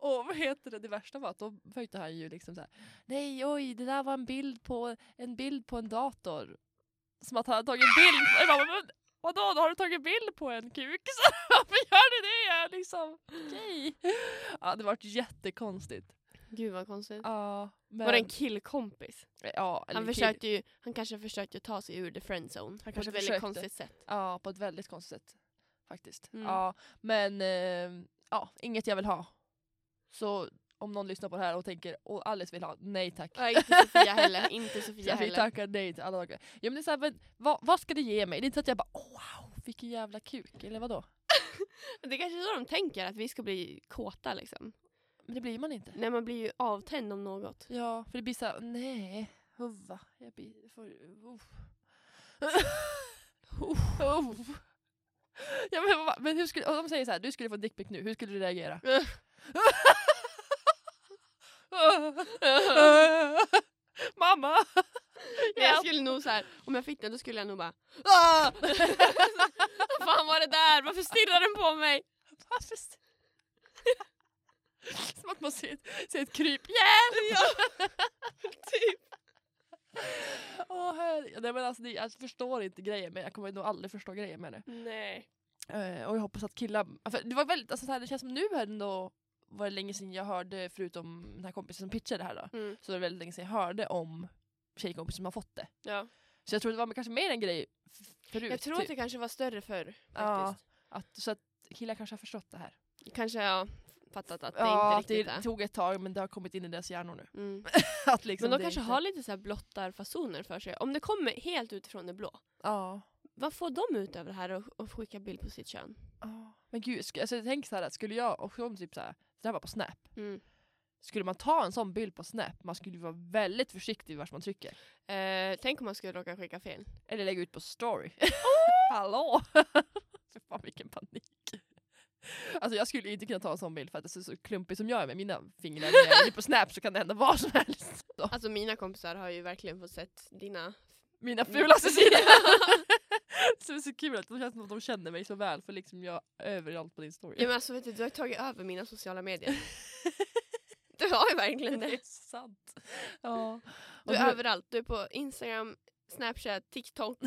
Speaker 2: Och vad heter det, det värsta var att då försökte han ju liksom så här, nej oj det där var en bild på en, bild på en dator. Som att han hade tagit en bild, jag bara, men vadå då har du tagit en bild på en kuk? Så, varför gör du det? Liksom, okej. Ja det vart jättekonstigt.
Speaker 1: Gud vad konstigt.
Speaker 2: Ja, men,
Speaker 1: Var det en killkompis?
Speaker 2: ja, eller
Speaker 1: Han,
Speaker 2: kill-
Speaker 1: försökte ju, han kanske försökte ta sig ur the friendzone på
Speaker 2: kanske
Speaker 1: ett väldigt
Speaker 2: försökte.
Speaker 1: konstigt sätt.
Speaker 2: Ja, på ett väldigt konstigt sätt. Faktiskt.
Speaker 1: Mm.
Speaker 2: Ja, men eh, ja, inget jag vill ha. Så om någon lyssnar på det här och tänker och Alice vill ha, nej tack.
Speaker 1: Ja, inte Sofia heller. Inte Sofia
Speaker 2: Jag vill
Speaker 1: heller.
Speaker 2: tacka nej till alla dagar. Ja, men det är så här, men, vad, vad ska det ge mig? Det är inte så att jag bara oh, wow, vilken jävla kuk, eller vadå?
Speaker 1: Det är kanske är så de tänker, att vi ska bli kåta liksom.
Speaker 2: Men det blir man inte.
Speaker 1: Nej man blir ju avtänd om något.
Speaker 2: Ja, för det blir så här, nej, huva. Jag blir, får, uff. Uff. Ja, men, vad- men hur skulle, om de säger så här, du skulle få en dickpic nu, hur skulle du reagera? Mamma!
Speaker 1: Men jag
Speaker 2: Hjälp!
Speaker 1: skulle nog så här, om jag fick den då skulle jag nog bara "Ah!" Vad fan var det där? Varför stirrar den på mig?
Speaker 2: Varför s- Som att man ser, ett- ser ett kryp. Hjälp! typ. Åh, herre- Nej, men alltså, det- jag förstår inte grejen men jag kommer nog aldrig förstå grejen med det.
Speaker 1: Nej.
Speaker 2: Eh, och jag hoppas att killar... För det var väldigt, alltså, så här, det känns som nu här ändå var det länge sedan jag hörde, förutom den här kompisen som pitchade det här då,
Speaker 1: Mm.
Speaker 2: så var det väldigt länge sedan jag hörde om tjejkompisar som har fått det.
Speaker 1: Ja. Typ.
Speaker 2: Så jag tror det var kanske mer en grej f- förut.
Speaker 1: Jag tror att det kanske var större förr.
Speaker 2: Ja.
Speaker 1: Faktiskt.
Speaker 2: att, så att killar kanske har förstått det här.
Speaker 1: Kanske har jag fattat att det
Speaker 2: ja,
Speaker 1: inte riktigt
Speaker 2: det
Speaker 1: är.
Speaker 2: tog ett tag men det har kommit in i deras hjärnor nu.
Speaker 1: Mm.
Speaker 2: att liksom
Speaker 1: Men de
Speaker 2: det
Speaker 1: kanske
Speaker 2: inte-
Speaker 1: har lite så här blottarfasoner för sig. Om det kommer helt utifrån det blå,
Speaker 2: Ja.
Speaker 1: vad får de ut av det här och, och skicka bild på sitt kön?
Speaker 2: Ja. Men gud, sk- alltså, jag tänker så här, att skulle jag och om typ så här, det där var på Snap.
Speaker 1: Mm.
Speaker 2: Skulle man ta en sån bild på Snap, man skulle vara väldigt försiktig vart man trycker.
Speaker 1: Eh, tänk om man skulle råka skicka fel.
Speaker 2: Eller lägga ut på story. Hallå! Fy Fan vilken panik. Alltså jag skulle inte kunna ta en sån bild för att det är så klumpig som jag är med mina fingrar. När jag är på Snap så kan det hända vad som helst. Så.
Speaker 1: Alltså mina kompisar har ju verkligen fått sett dina...
Speaker 2: Mina fulaste sidor. så det är så kul att de känns som att de känner mig så väl för liksom jag är överallt på din story.
Speaker 1: Ja men alltså vet du, du har ju tagit över mina sociala medier. Du har ju verkligen
Speaker 2: det
Speaker 1: det.
Speaker 2: är sant. Ja.
Speaker 1: Du är överallt. Du är på Instagram, Snapchat, TikTok,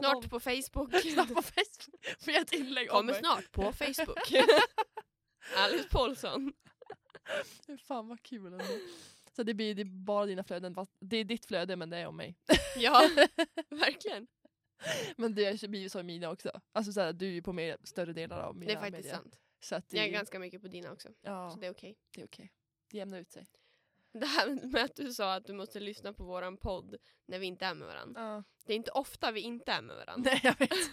Speaker 1: snart på Facebook.
Speaker 2: Snart på Facebook. Får jag ett inlägg om
Speaker 1: Kommer
Speaker 2: mig?
Speaker 1: snart på Facebook. Alice Paulsson.
Speaker 2: Fan vad kul ändå. Så det blir det är bara dina flöden. fast Det är ditt flöde men det är om mig.
Speaker 1: Ja, verkligen.
Speaker 2: Men det blir ju så i mina också. Alltså såhär, du är ju på mer, större delar av mina
Speaker 1: Det är faktiskt
Speaker 2: medier.
Speaker 1: sant.
Speaker 2: Så att det,
Speaker 1: Jag är ganska mycket på dina också.
Speaker 2: ja,
Speaker 1: Så det är okej.
Speaker 2: det är okej. Det jämnar ut sig.
Speaker 1: Det här med att du sa att du måste lyssna på våran podd när vi inte är med varandra. Det är inte ofta vi inte är med varandra.
Speaker 2: Nej jag vet. Så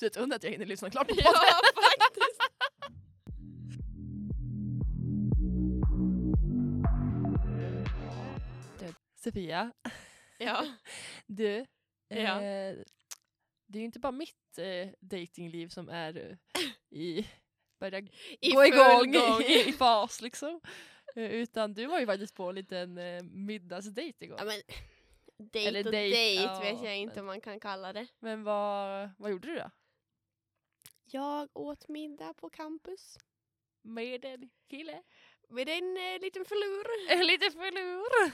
Speaker 2: det är ett under att jag hinner lyssna klart på
Speaker 1: Ja,
Speaker 2: podden.
Speaker 1: faktiskt.
Speaker 2: Sofia,
Speaker 1: Ja.
Speaker 2: du.
Speaker 1: Ja.
Speaker 2: Eh, det är ju inte bara mitt eh, datingliv som är eh, i, börjar
Speaker 1: I
Speaker 2: gå
Speaker 1: full
Speaker 2: igång
Speaker 1: gång.
Speaker 2: i, i fas liksom. Eh, Utan du var ju faktiskt på en liten eh, middagsdejt igår.
Speaker 1: Ja, men, date
Speaker 2: Eller
Speaker 1: och
Speaker 2: date,
Speaker 1: date
Speaker 2: ja,
Speaker 1: vet jag inte
Speaker 2: men-
Speaker 1: om man kan kalla det.
Speaker 2: Men vad, vad gjorde du då?
Speaker 1: Jag åt middag på campus.
Speaker 2: Med en kille.
Speaker 1: Med en eh, liten förlur.
Speaker 2: En liten förlor.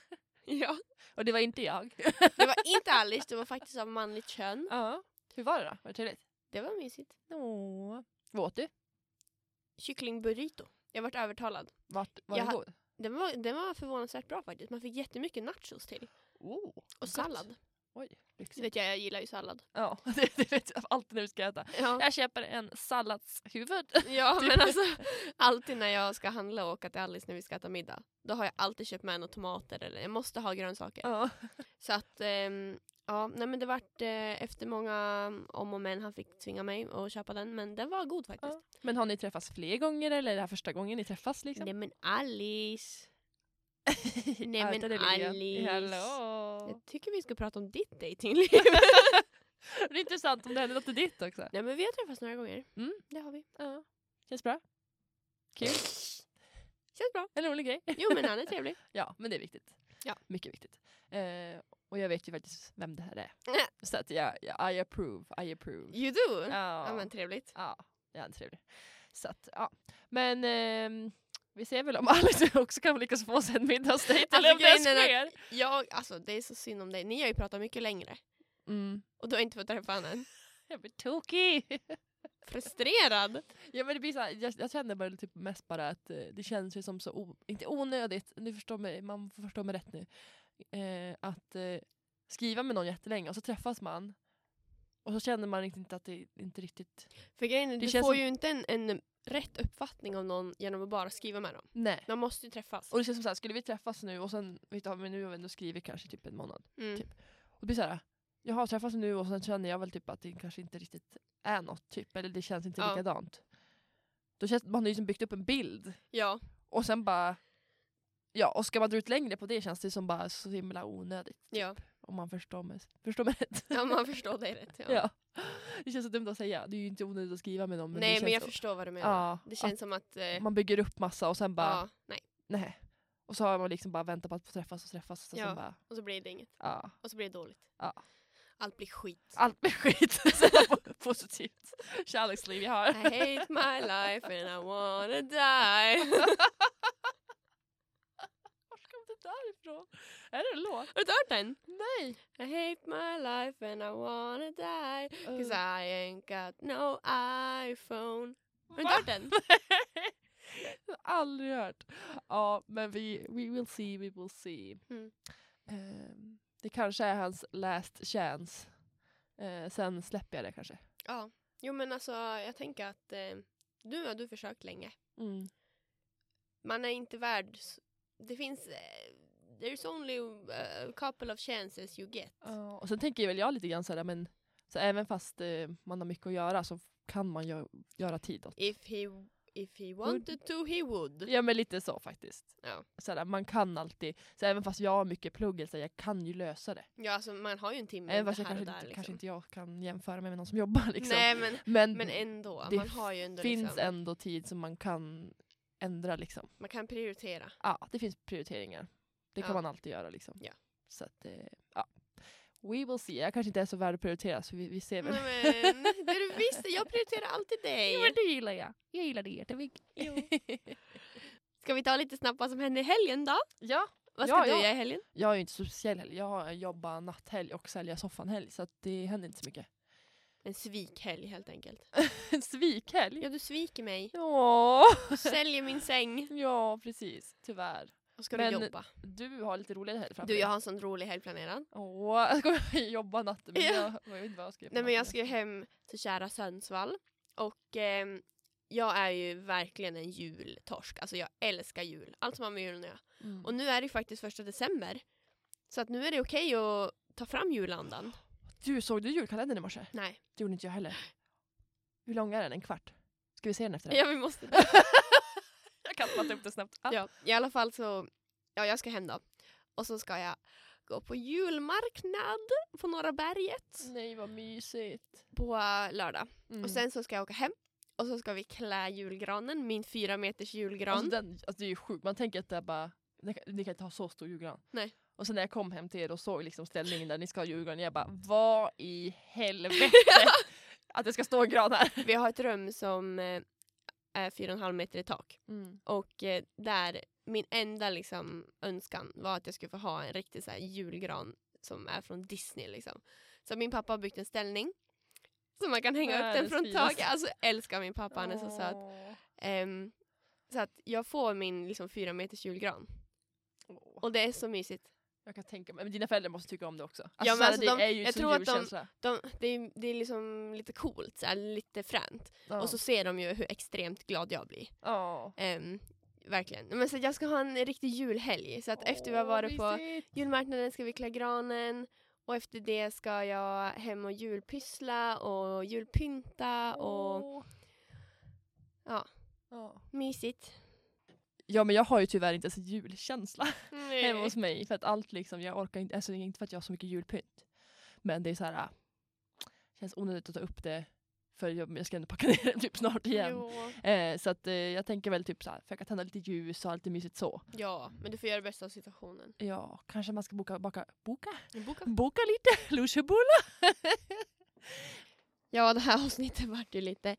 Speaker 1: Ja.
Speaker 2: Och det var inte jag.
Speaker 1: Det var inte Alice, det var faktiskt av manligt kön.
Speaker 2: ja. Hur var det då? Var det trevligt?
Speaker 1: Det var mysigt.
Speaker 2: Nå. Vad åt du?
Speaker 1: Kycklingburrito. Jag vart övertalad.
Speaker 2: Vart, var
Speaker 1: Jag
Speaker 2: den
Speaker 1: ha-
Speaker 2: god?
Speaker 1: Den var, den var förvånansvärt bra faktiskt. Man fick jättemycket nachos till.
Speaker 2: Oh,
Speaker 1: Och sallad.
Speaker 2: Oj,
Speaker 1: Du
Speaker 2: lyxigt.
Speaker 1: vet jag, jag gillar ju sallad.
Speaker 2: Ja, det, det vet jag alltid när vi ska äta.
Speaker 1: Ja,
Speaker 2: Jag köper en salladshuvud.
Speaker 1: ja
Speaker 2: typ.
Speaker 1: men alltså alltid när jag ska handla och åka till Alice när vi ska äta middag. Då har jag alltid köpt med några tomater eller jag måste ha grönsaker.
Speaker 2: Ja.
Speaker 1: Så att ehm, ja, nej men det vart eh, efter många om och men han fick tvinga mig att köpa den men den var god faktiskt.
Speaker 2: Ja. Men har ni träffats fler gånger eller är det här första gången ni träffas? Liksom?
Speaker 1: Nej men Alice. Nej,
Speaker 2: Ja,
Speaker 1: men
Speaker 2: utan det blir igen.
Speaker 1: Alice.
Speaker 2: Hallå!
Speaker 1: Jag tycker vi ska prata om ditt datingliv.
Speaker 2: Det är intressant om det händer något i ditt också.
Speaker 1: nej men vi har träffats några gånger.
Speaker 2: Mm.
Speaker 1: Det har vi.
Speaker 2: Ja. Känns bra. Kul.
Speaker 1: Känns bra.
Speaker 2: En rolig grej.
Speaker 1: Jo men han är trevlig.
Speaker 2: Ja, men det är viktigt.
Speaker 1: Ja.
Speaker 2: Mycket viktigt. Eh, och jag vet ju faktiskt vem det här är.
Speaker 1: Nej.
Speaker 2: Så att jag, jag I approve, I approve.
Speaker 1: You do? Ja,
Speaker 2: Ja,
Speaker 1: men trevligt.
Speaker 2: ja, det är han trevlig. Så att, ja. Men ehm, vi ser väl om Alice också kan lyckas få sig en middagsdejt eller
Speaker 1: Alltså,
Speaker 2: om det ens
Speaker 1: grejen är
Speaker 2: sker.
Speaker 1: Jag, alltså det är så synd om dig. Ni har ju pratat mycket längre
Speaker 2: Mm.
Speaker 1: och du har inte fått träffa honom än.
Speaker 2: Jag blir tokig!
Speaker 1: Frustrerad.
Speaker 2: Ja, men det blir så här, jag, jag känner bara typ mest bara att eh, det känns ju som så, o, inte onödigt, nu förstår mig, man får förstå mig rätt nu. Eh, att eh, skriva med någon jättelänge och så träffas man och så känner man inte att det inte riktigt...
Speaker 1: För grejen är,
Speaker 2: Det
Speaker 1: du får
Speaker 2: känns som-
Speaker 1: ju inte en, en rätt uppfattning om någon genom att bara skriva med dem.
Speaker 2: Nej.
Speaker 1: De måste ju träffas.
Speaker 2: Och det känns som så här, skulle vi träffas nu och sen, vet du, ja, men nu har vi ändå skrivit kanske typ en månad.
Speaker 1: Mm.
Speaker 2: typ. Och det blir så här, jag har träffats nu och sen känner jag väl typ att det kanske inte riktigt är något, typ, eller det känns inte
Speaker 1: Ja.
Speaker 2: likadant. Då känns, man har ju som byggt upp en bild
Speaker 1: Ja.
Speaker 2: Och sen bara... Ja, och ska man dra ut längre på det känns det som bara så himla onödigt.
Speaker 1: Ja.
Speaker 2: Om man förstår mig, förstår mig rätt.
Speaker 1: ja, man förstår dig rätt. Ja.
Speaker 2: Ja. Det känns så dumt att säga. Det är ju inte onödigt att skriva med någon. Men det
Speaker 1: Nej
Speaker 2: känns
Speaker 1: men jag
Speaker 2: så,
Speaker 1: förstår vad du menar.
Speaker 2: ja,
Speaker 1: Det känns som att... Eh,
Speaker 2: att man bygger upp massa och sen bara,
Speaker 1: ja, nej.
Speaker 2: nej. Och så har man liksom bara väntat på att få träffas och träffas. Och
Speaker 1: Ja.
Speaker 2: sen bara,
Speaker 1: Och så blir det inget.
Speaker 2: ja.
Speaker 1: Och så blir det dåligt.
Speaker 2: Ja.
Speaker 1: Allt blir skit.
Speaker 2: Allt blir skit. Så po- Positivt kärleksliv jag
Speaker 1: I
Speaker 2: har.
Speaker 1: hate my life and I wanna die.
Speaker 2: Var kom det där ifrån? Är det en låt?
Speaker 1: Har du inte hört den?
Speaker 2: Nej.
Speaker 1: I hate my life and I wanna die. Cause
Speaker 2: Uh,
Speaker 1: I ain't got no iPhone. Har du
Speaker 2: va?
Speaker 1: inte hört den?
Speaker 2: Aldrig hört. Ja, men vi we will see, we will see.
Speaker 1: Mm.
Speaker 2: Ehm, det kanske är hans last chance. Eh, sen släpper jag det kanske.
Speaker 1: Ja. Jo men alltså jag tänker att eh, nu har du försökt länge. Mm. Man är inte värd... s- Det finns... Eh, there's only eh, a couple of chances you get.
Speaker 2: Ja, och sen tänker väl jag lite grann såhär, men så även fast eh, man har mycket att göra så kan man gö- göra tid åt.
Speaker 1: If he, if he wanted to he would.
Speaker 2: Ja men lite så faktiskt.
Speaker 1: Ja.
Speaker 2: Såhär, man kan alltid, så även fast jag har mycket plugg, så jag kan ju lösa det.
Speaker 1: Ja alltså man har ju en timme
Speaker 2: även
Speaker 1: det
Speaker 2: fast jag
Speaker 1: här
Speaker 2: kanske,
Speaker 1: och där
Speaker 2: inte,
Speaker 1: liksom.
Speaker 2: kanske inte jag kan jämföra mig med någon som jobbar. Liksom.
Speaker 1: Nej men,
Speaker 2: men,
Speaker 1: men ändå.
Speaker 2: det
Speaker 1: Man har ju ändå
Speaker 2: finns
Speaker 1: liksom,
Speaker 2: ändå tid som man kan ändra liksom.
Speaker 1: Man kan prioritera.
Speaker 2: Ja, det finns prioriteringar. Det kan
Speaker 1: Ja.
Speaker 2: man alltid göra liksom.
Speaker 1: Ja.
Speaker 2: Så att, eh, ja. We will see. Jag kanske inte är så värd att prioritera så vi, vi ser väl.
Speaker 1: Nej, men, det du visste, jag prioriterar alltid dig.
Speaker 2: det gillar jag. Jag gillar det jättemycket.
Speaker 1: Ska vi ta lite snabbt vad som hände i helgen då?
Speaker 2: ja,
Speaker 1: Vad
Speaker 2: Ja,
Speaker 1: ska du
Speaker 2: ja.
Speaker 1: göra i helgen?
Speaker 2: jag är ju inte så speciell heller. Jag har- jobbar natthelg och säljer soffan-helg så att det händer inte så mycket.
Speaker 1: En svikhelg helt enkelt.
Speaker 2: En svikhelg?
Speaker 1: Ja, du sviker mig.
Speaker 2: Ja.
Speaker 1: Du säljer min säng.
Speaker 2: ja, precis. Tyvärr.
Speaker 1: Och ska
Speaker 2: Men-
Speaker 1: du jobba.
Speaker 2: Du har lite roligare helg framför
Speaker 1: Du,
Speaker 2: dig.
Speaker 1: jag har en sån rolig helg planerad.
Speaker 2: Åh, jag ska jobba natten men
Speaker 1: Ja.
Speaker 2: jag, jag vet inte vad jag ska göra. på
Speaker 1: Nej men jag
Speaker 2: natten.
Speaker 1: ska ju hem till kära Sundsvall. Och ehm, jag är ju verkligen en jultorsk. Alltså jag älskar jul. Allt som har med julen att göra.
Speaker 2: Mm.
Speaker 1: Och nu är det ju faktiskt första december. Så att nu är det okej att ta fram julandan.
Speaker 2: Du, såg du julkalendern i morse?
Speaker 1: Nej.
Speaker 2: Det gjorde inte jag heller. Hur lång är den? En kvart? Ska vi se den efter det?
Speaker 1: Ja, vi måste
Speaker 2: Jag kan fatta upp det snabbt. Ja.
Speaker 1: Ja, i alla fall så, ja jag ska hem då. Och så ska jag gå på julmarknad på Norra berget
Speaker 2: Nej, vad mysigt.
Speaker 1: på eh, lördag.
Speaker 2: Mm.
Speaker 1: Och sen så ska jag åka hem och så ska vi klä julgranen, min fyra meters julgran.
Speaker 2: alltså, den, alltså, det är ju sjukt, man tänker att det är bara, ni kan, ni kan inte ha så stor julgran.
Speaker 1: Nej.
Speaker 2: Och sen när jag kom hem till er och såg liksom ställningen där ni ska ha julgran, jag
Speaker 1: Mm.
Speaker 2: bara vad i helvete att det ska stå en gran här.
Speaker 1: vi har ett rum som eh, är fyra och en halv meter i tak. Och eh, där, min enda liksom, önskan var att jag skulle få ha en riktig så här, julgran som är från Disney. Liksom. Så min pappa har byggt en ställning. Så man kan hänga upp
Speaker 2: Världens
Speaker 1: den från
Speaker 2: finaste.
Speaker 1: taket. Alltså jag älskar min pappa, han är så söt. Ehm, så att jag får min liksom, fyra meters julgran.
Speaker 2: Åh.
Speaker 1: Och det är så mysigt.
Speaker 2: Jag kan tänka mig, men dina föräldrar måste tycka om det också.
Speaker 1: men
Speaker 2: Alltså, såhär,
Speaker 1: alltså
Speaker 2: det
Speaker 1: de-
Speaker 2: är ju
Speaker 1: jag
Speaker 2: så
Speaker 1: tror att
Speaker 2: djur
Speaker 1: de-
Speaker 2: känsla.
Speaker 1: De, det, är, det är liksom lite coolt, så här, lite fränt.
Speaker 2: Ja.
Speaker 1: Och så ser de ju hur extremt glad jag blir.
Speaker 2: Ja.
Speaker 1: Ehm, verkligen. Men så att jag ska ha en riktig julhelg. Så att efter vi har
Speaker 2: Åh,
Speaker 1: varit på
Speaker 2: mysigt.
Speaker 1: julmarknaden ska vi klä granen. Och efter det ska jag hem och julpyssla och julpynta och
Speaker 2: Åh.
Speaker 1: Ja.
Speaker 2: ja.
Speaker 1: mysigt.
Speaker 2: Ja men jag har ju tyvärr inte ens julkänsla
Speaker 1: Nej.
Speaker 2: hemma hos mig. För att allt liksom, jag orkar inte, alltså det är inte för att jag har så mycket julpynt. Men det är så här, ah, känns onödigt att ta upp det. För jag, jag ska ändå packa ner det typ snart igen.
Speaker 1: Jo.
Speaker 2: Eh, så att eh, jag tänker väl typ så här, försöka tända lite ljus och allt är mysigt så.
Speaker 1: Ja, men du får göra det bästa av situationen.
Speaker 2: Ja, kanske man ska boka, baka, boka?
Speaker 1: Boka.
Speaker 2: Boka lite lussebullar.
Speaker 1: Ja, det här avsnittet vart ju lite,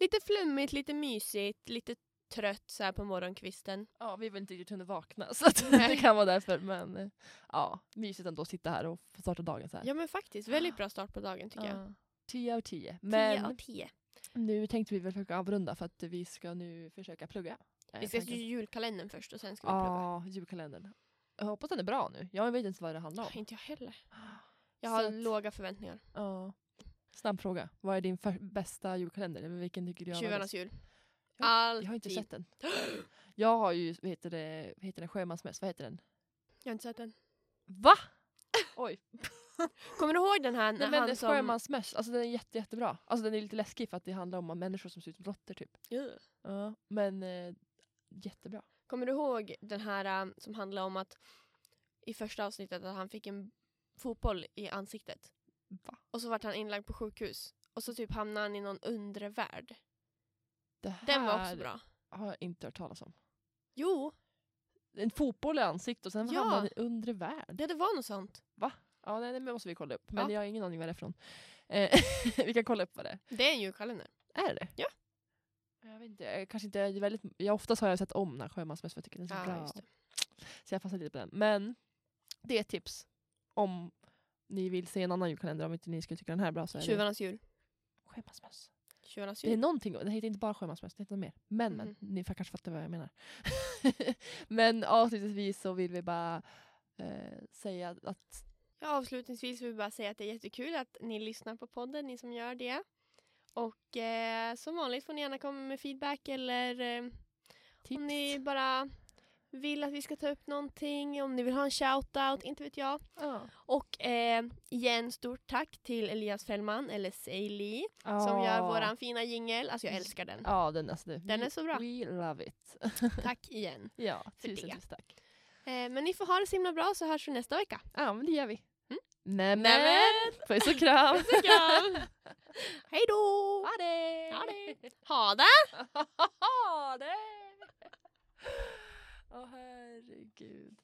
Speaker 1: lite flummigt, lite mysigt, lite trött så här på morgonkvisten.
Speaker 2: Ja, vi har väl inte riktigt hunnit vakna så att det
Speaker 1: Nej.
Speaker 2: kan vara därför. Men eh, ja, mysigt ändå att sitta här och få starta dagen så här.
Speaker 1: Ja men faktiskt, väldigt bra start på dagen tycker jag.
Speaker 2: Ja. 10 av 10.
Speaker 1: 10 av eh,
Speaker 2: Men
Speaker 1: 10.
Speaker 2: nu tänkte vi väl försöka avrunda för att vi ska nu försöka plugga. Eh,
Speaker 1: Vi ska
Speaker 2: tanken.
Speaker 1: ju julkalendern först och sen ska vi plugga.
Speaker 2: Ja, julkalendern. Jag hoppas den är bra nu. Jag vet inte ens vad det handlar om.
Speaker 1: Inte jag heller. Jag
Speaker 2: Så
Speaker 1: har
Speaker 2: att-
Speaker 1: låga förväntningar.
Speaker 2: Ja. Snabb fråga. Vad är din för- bästa julkalender? Eller vilken tycker du har
Speaker 1: Tjuvarnas
Speaker 2: varit-
Speaker 1: jul.
Speaker 2: Jag-
Speaker 1: Alltid.
Speaker 2: Jag har inte sett den. Jag har ju, vad heter det, vad heter den, Sjömansmäss, vad heter den?
Speaker 1: Jag har inte sett den.
Speaker 2: Va? Oj.
Speaker 1: Kommer du ihåg den här när
Speaker 2: Nej, men
Speaker 1: han som...
Speaker 2: Sjömansmäss, alltså den är jätte, jättebra. Alltså den är lite läskig för att det handlar om människor som ser ut som råttor typ.
Speaker 1: Ugh.
Speaker 2: Ja. Men eh, jättebra.
Speaker 1: Kommer du ihåg den här eh, som handlar om att i första avsnittet att han fick en fotboll i ansiktet.
Speaker 2: Va?
Speaker 1: Och så vart han inlagd på sjukhus. Och så typ hamnade han i någon undre värld.
Speaker 2: Det
Speaker 1: Den var också
Speaker 2: här
Speaker 1: bra.
Speaker 2: har jag inte hört talas om.
Speaker 1: Jo,
Speaker 2: En fotboll i ansiktet och sen
Speaker 1: Ja.
Speaker 2: hamnade han i undre värld.
Speaker 1: det, det var något sånt.
Speaker 2: Ja, nej, det måste vi kolla upp. Men
Speaker 1: Ja.
Speaker 2: jag har ingen aning vad det är från. Eh, vi kan kolla upp vad det är.
Speaker 1: Det är en julkalender.
Speaker 2: Är det
Speaker 1: Ja.
Speaker 2: Jag vet inte, jag kanske inte, det är väldigt, jag oftast har jag sett om när Sjömansmäss för jag tycker den är så
Speaker 1: Ja,
Speaker 2: bra.
Speaker 1: just det.
Speaker 2: Så jag fastnade lite på den. Men det är ett tips om ni vill se en annan julkalender om inte ni skulle tycka den här är bra så är det
Speaker 1: Tjuvarnas jul.
Speaker 2: Sjömansmöss.
Speaker 1: Tjuvarnas
Speaker 2: Det är
Speaker 1: jul.
Speaker 2: någonting, det heter inte bara Sjömansmöss, det heter något mer. Men,
Speaker 1: Typ. Mhm.
Speaker 2: men ni får kanske fattar vad jag menar. men avslutningsvis så vill vi bara eh, säga att
Speaker 1: Ja, avslutningsvis vill vi bara säga att det är jättekul att ni lyssnar på podden, ni som gör det. Och eh, som vanligt får ni gärna komma med feedback eller eh,
Speaker 2: tips.
Speaker 1: om ni bara vill att vi ska ta upp någonting, om ni vill ha en shoutout, inte vet jag.
Speaker 2: Ja.
Speaker 1: Och eh, igen, stort tack till Elias Fällman, eller Seili, som gör våran fina jingel. Alltså jag älskar den.
Speaker 2: Ja, den, alltså, det-
Speaker 1: Den
Speaker 2: we-
Speaker 1: är så bra.
Speaker 2: We love it.
Speaker 1: Tack igen.
Speaker 2: ja,
Speaker 1: För
Speaker 2: tusen,
Speaker 1: det.
Speaker 2: tusen tack.
Speaker 1: Eh, men ni får ha det så himla bra så hörs vi nästa vecka.
Speaker 2: Ja, men det gör vi.
Speaker 1: Mm.
Speaker 2: Nämen!
Speaker 1: Nämen!
Speaker 2: Puss och kram!
Speaker 1: Hej då!
Speaker 2: Ha det!
Speaker 1: Ha det! Ha det!
Speaker 2: ha det! Åh herregud.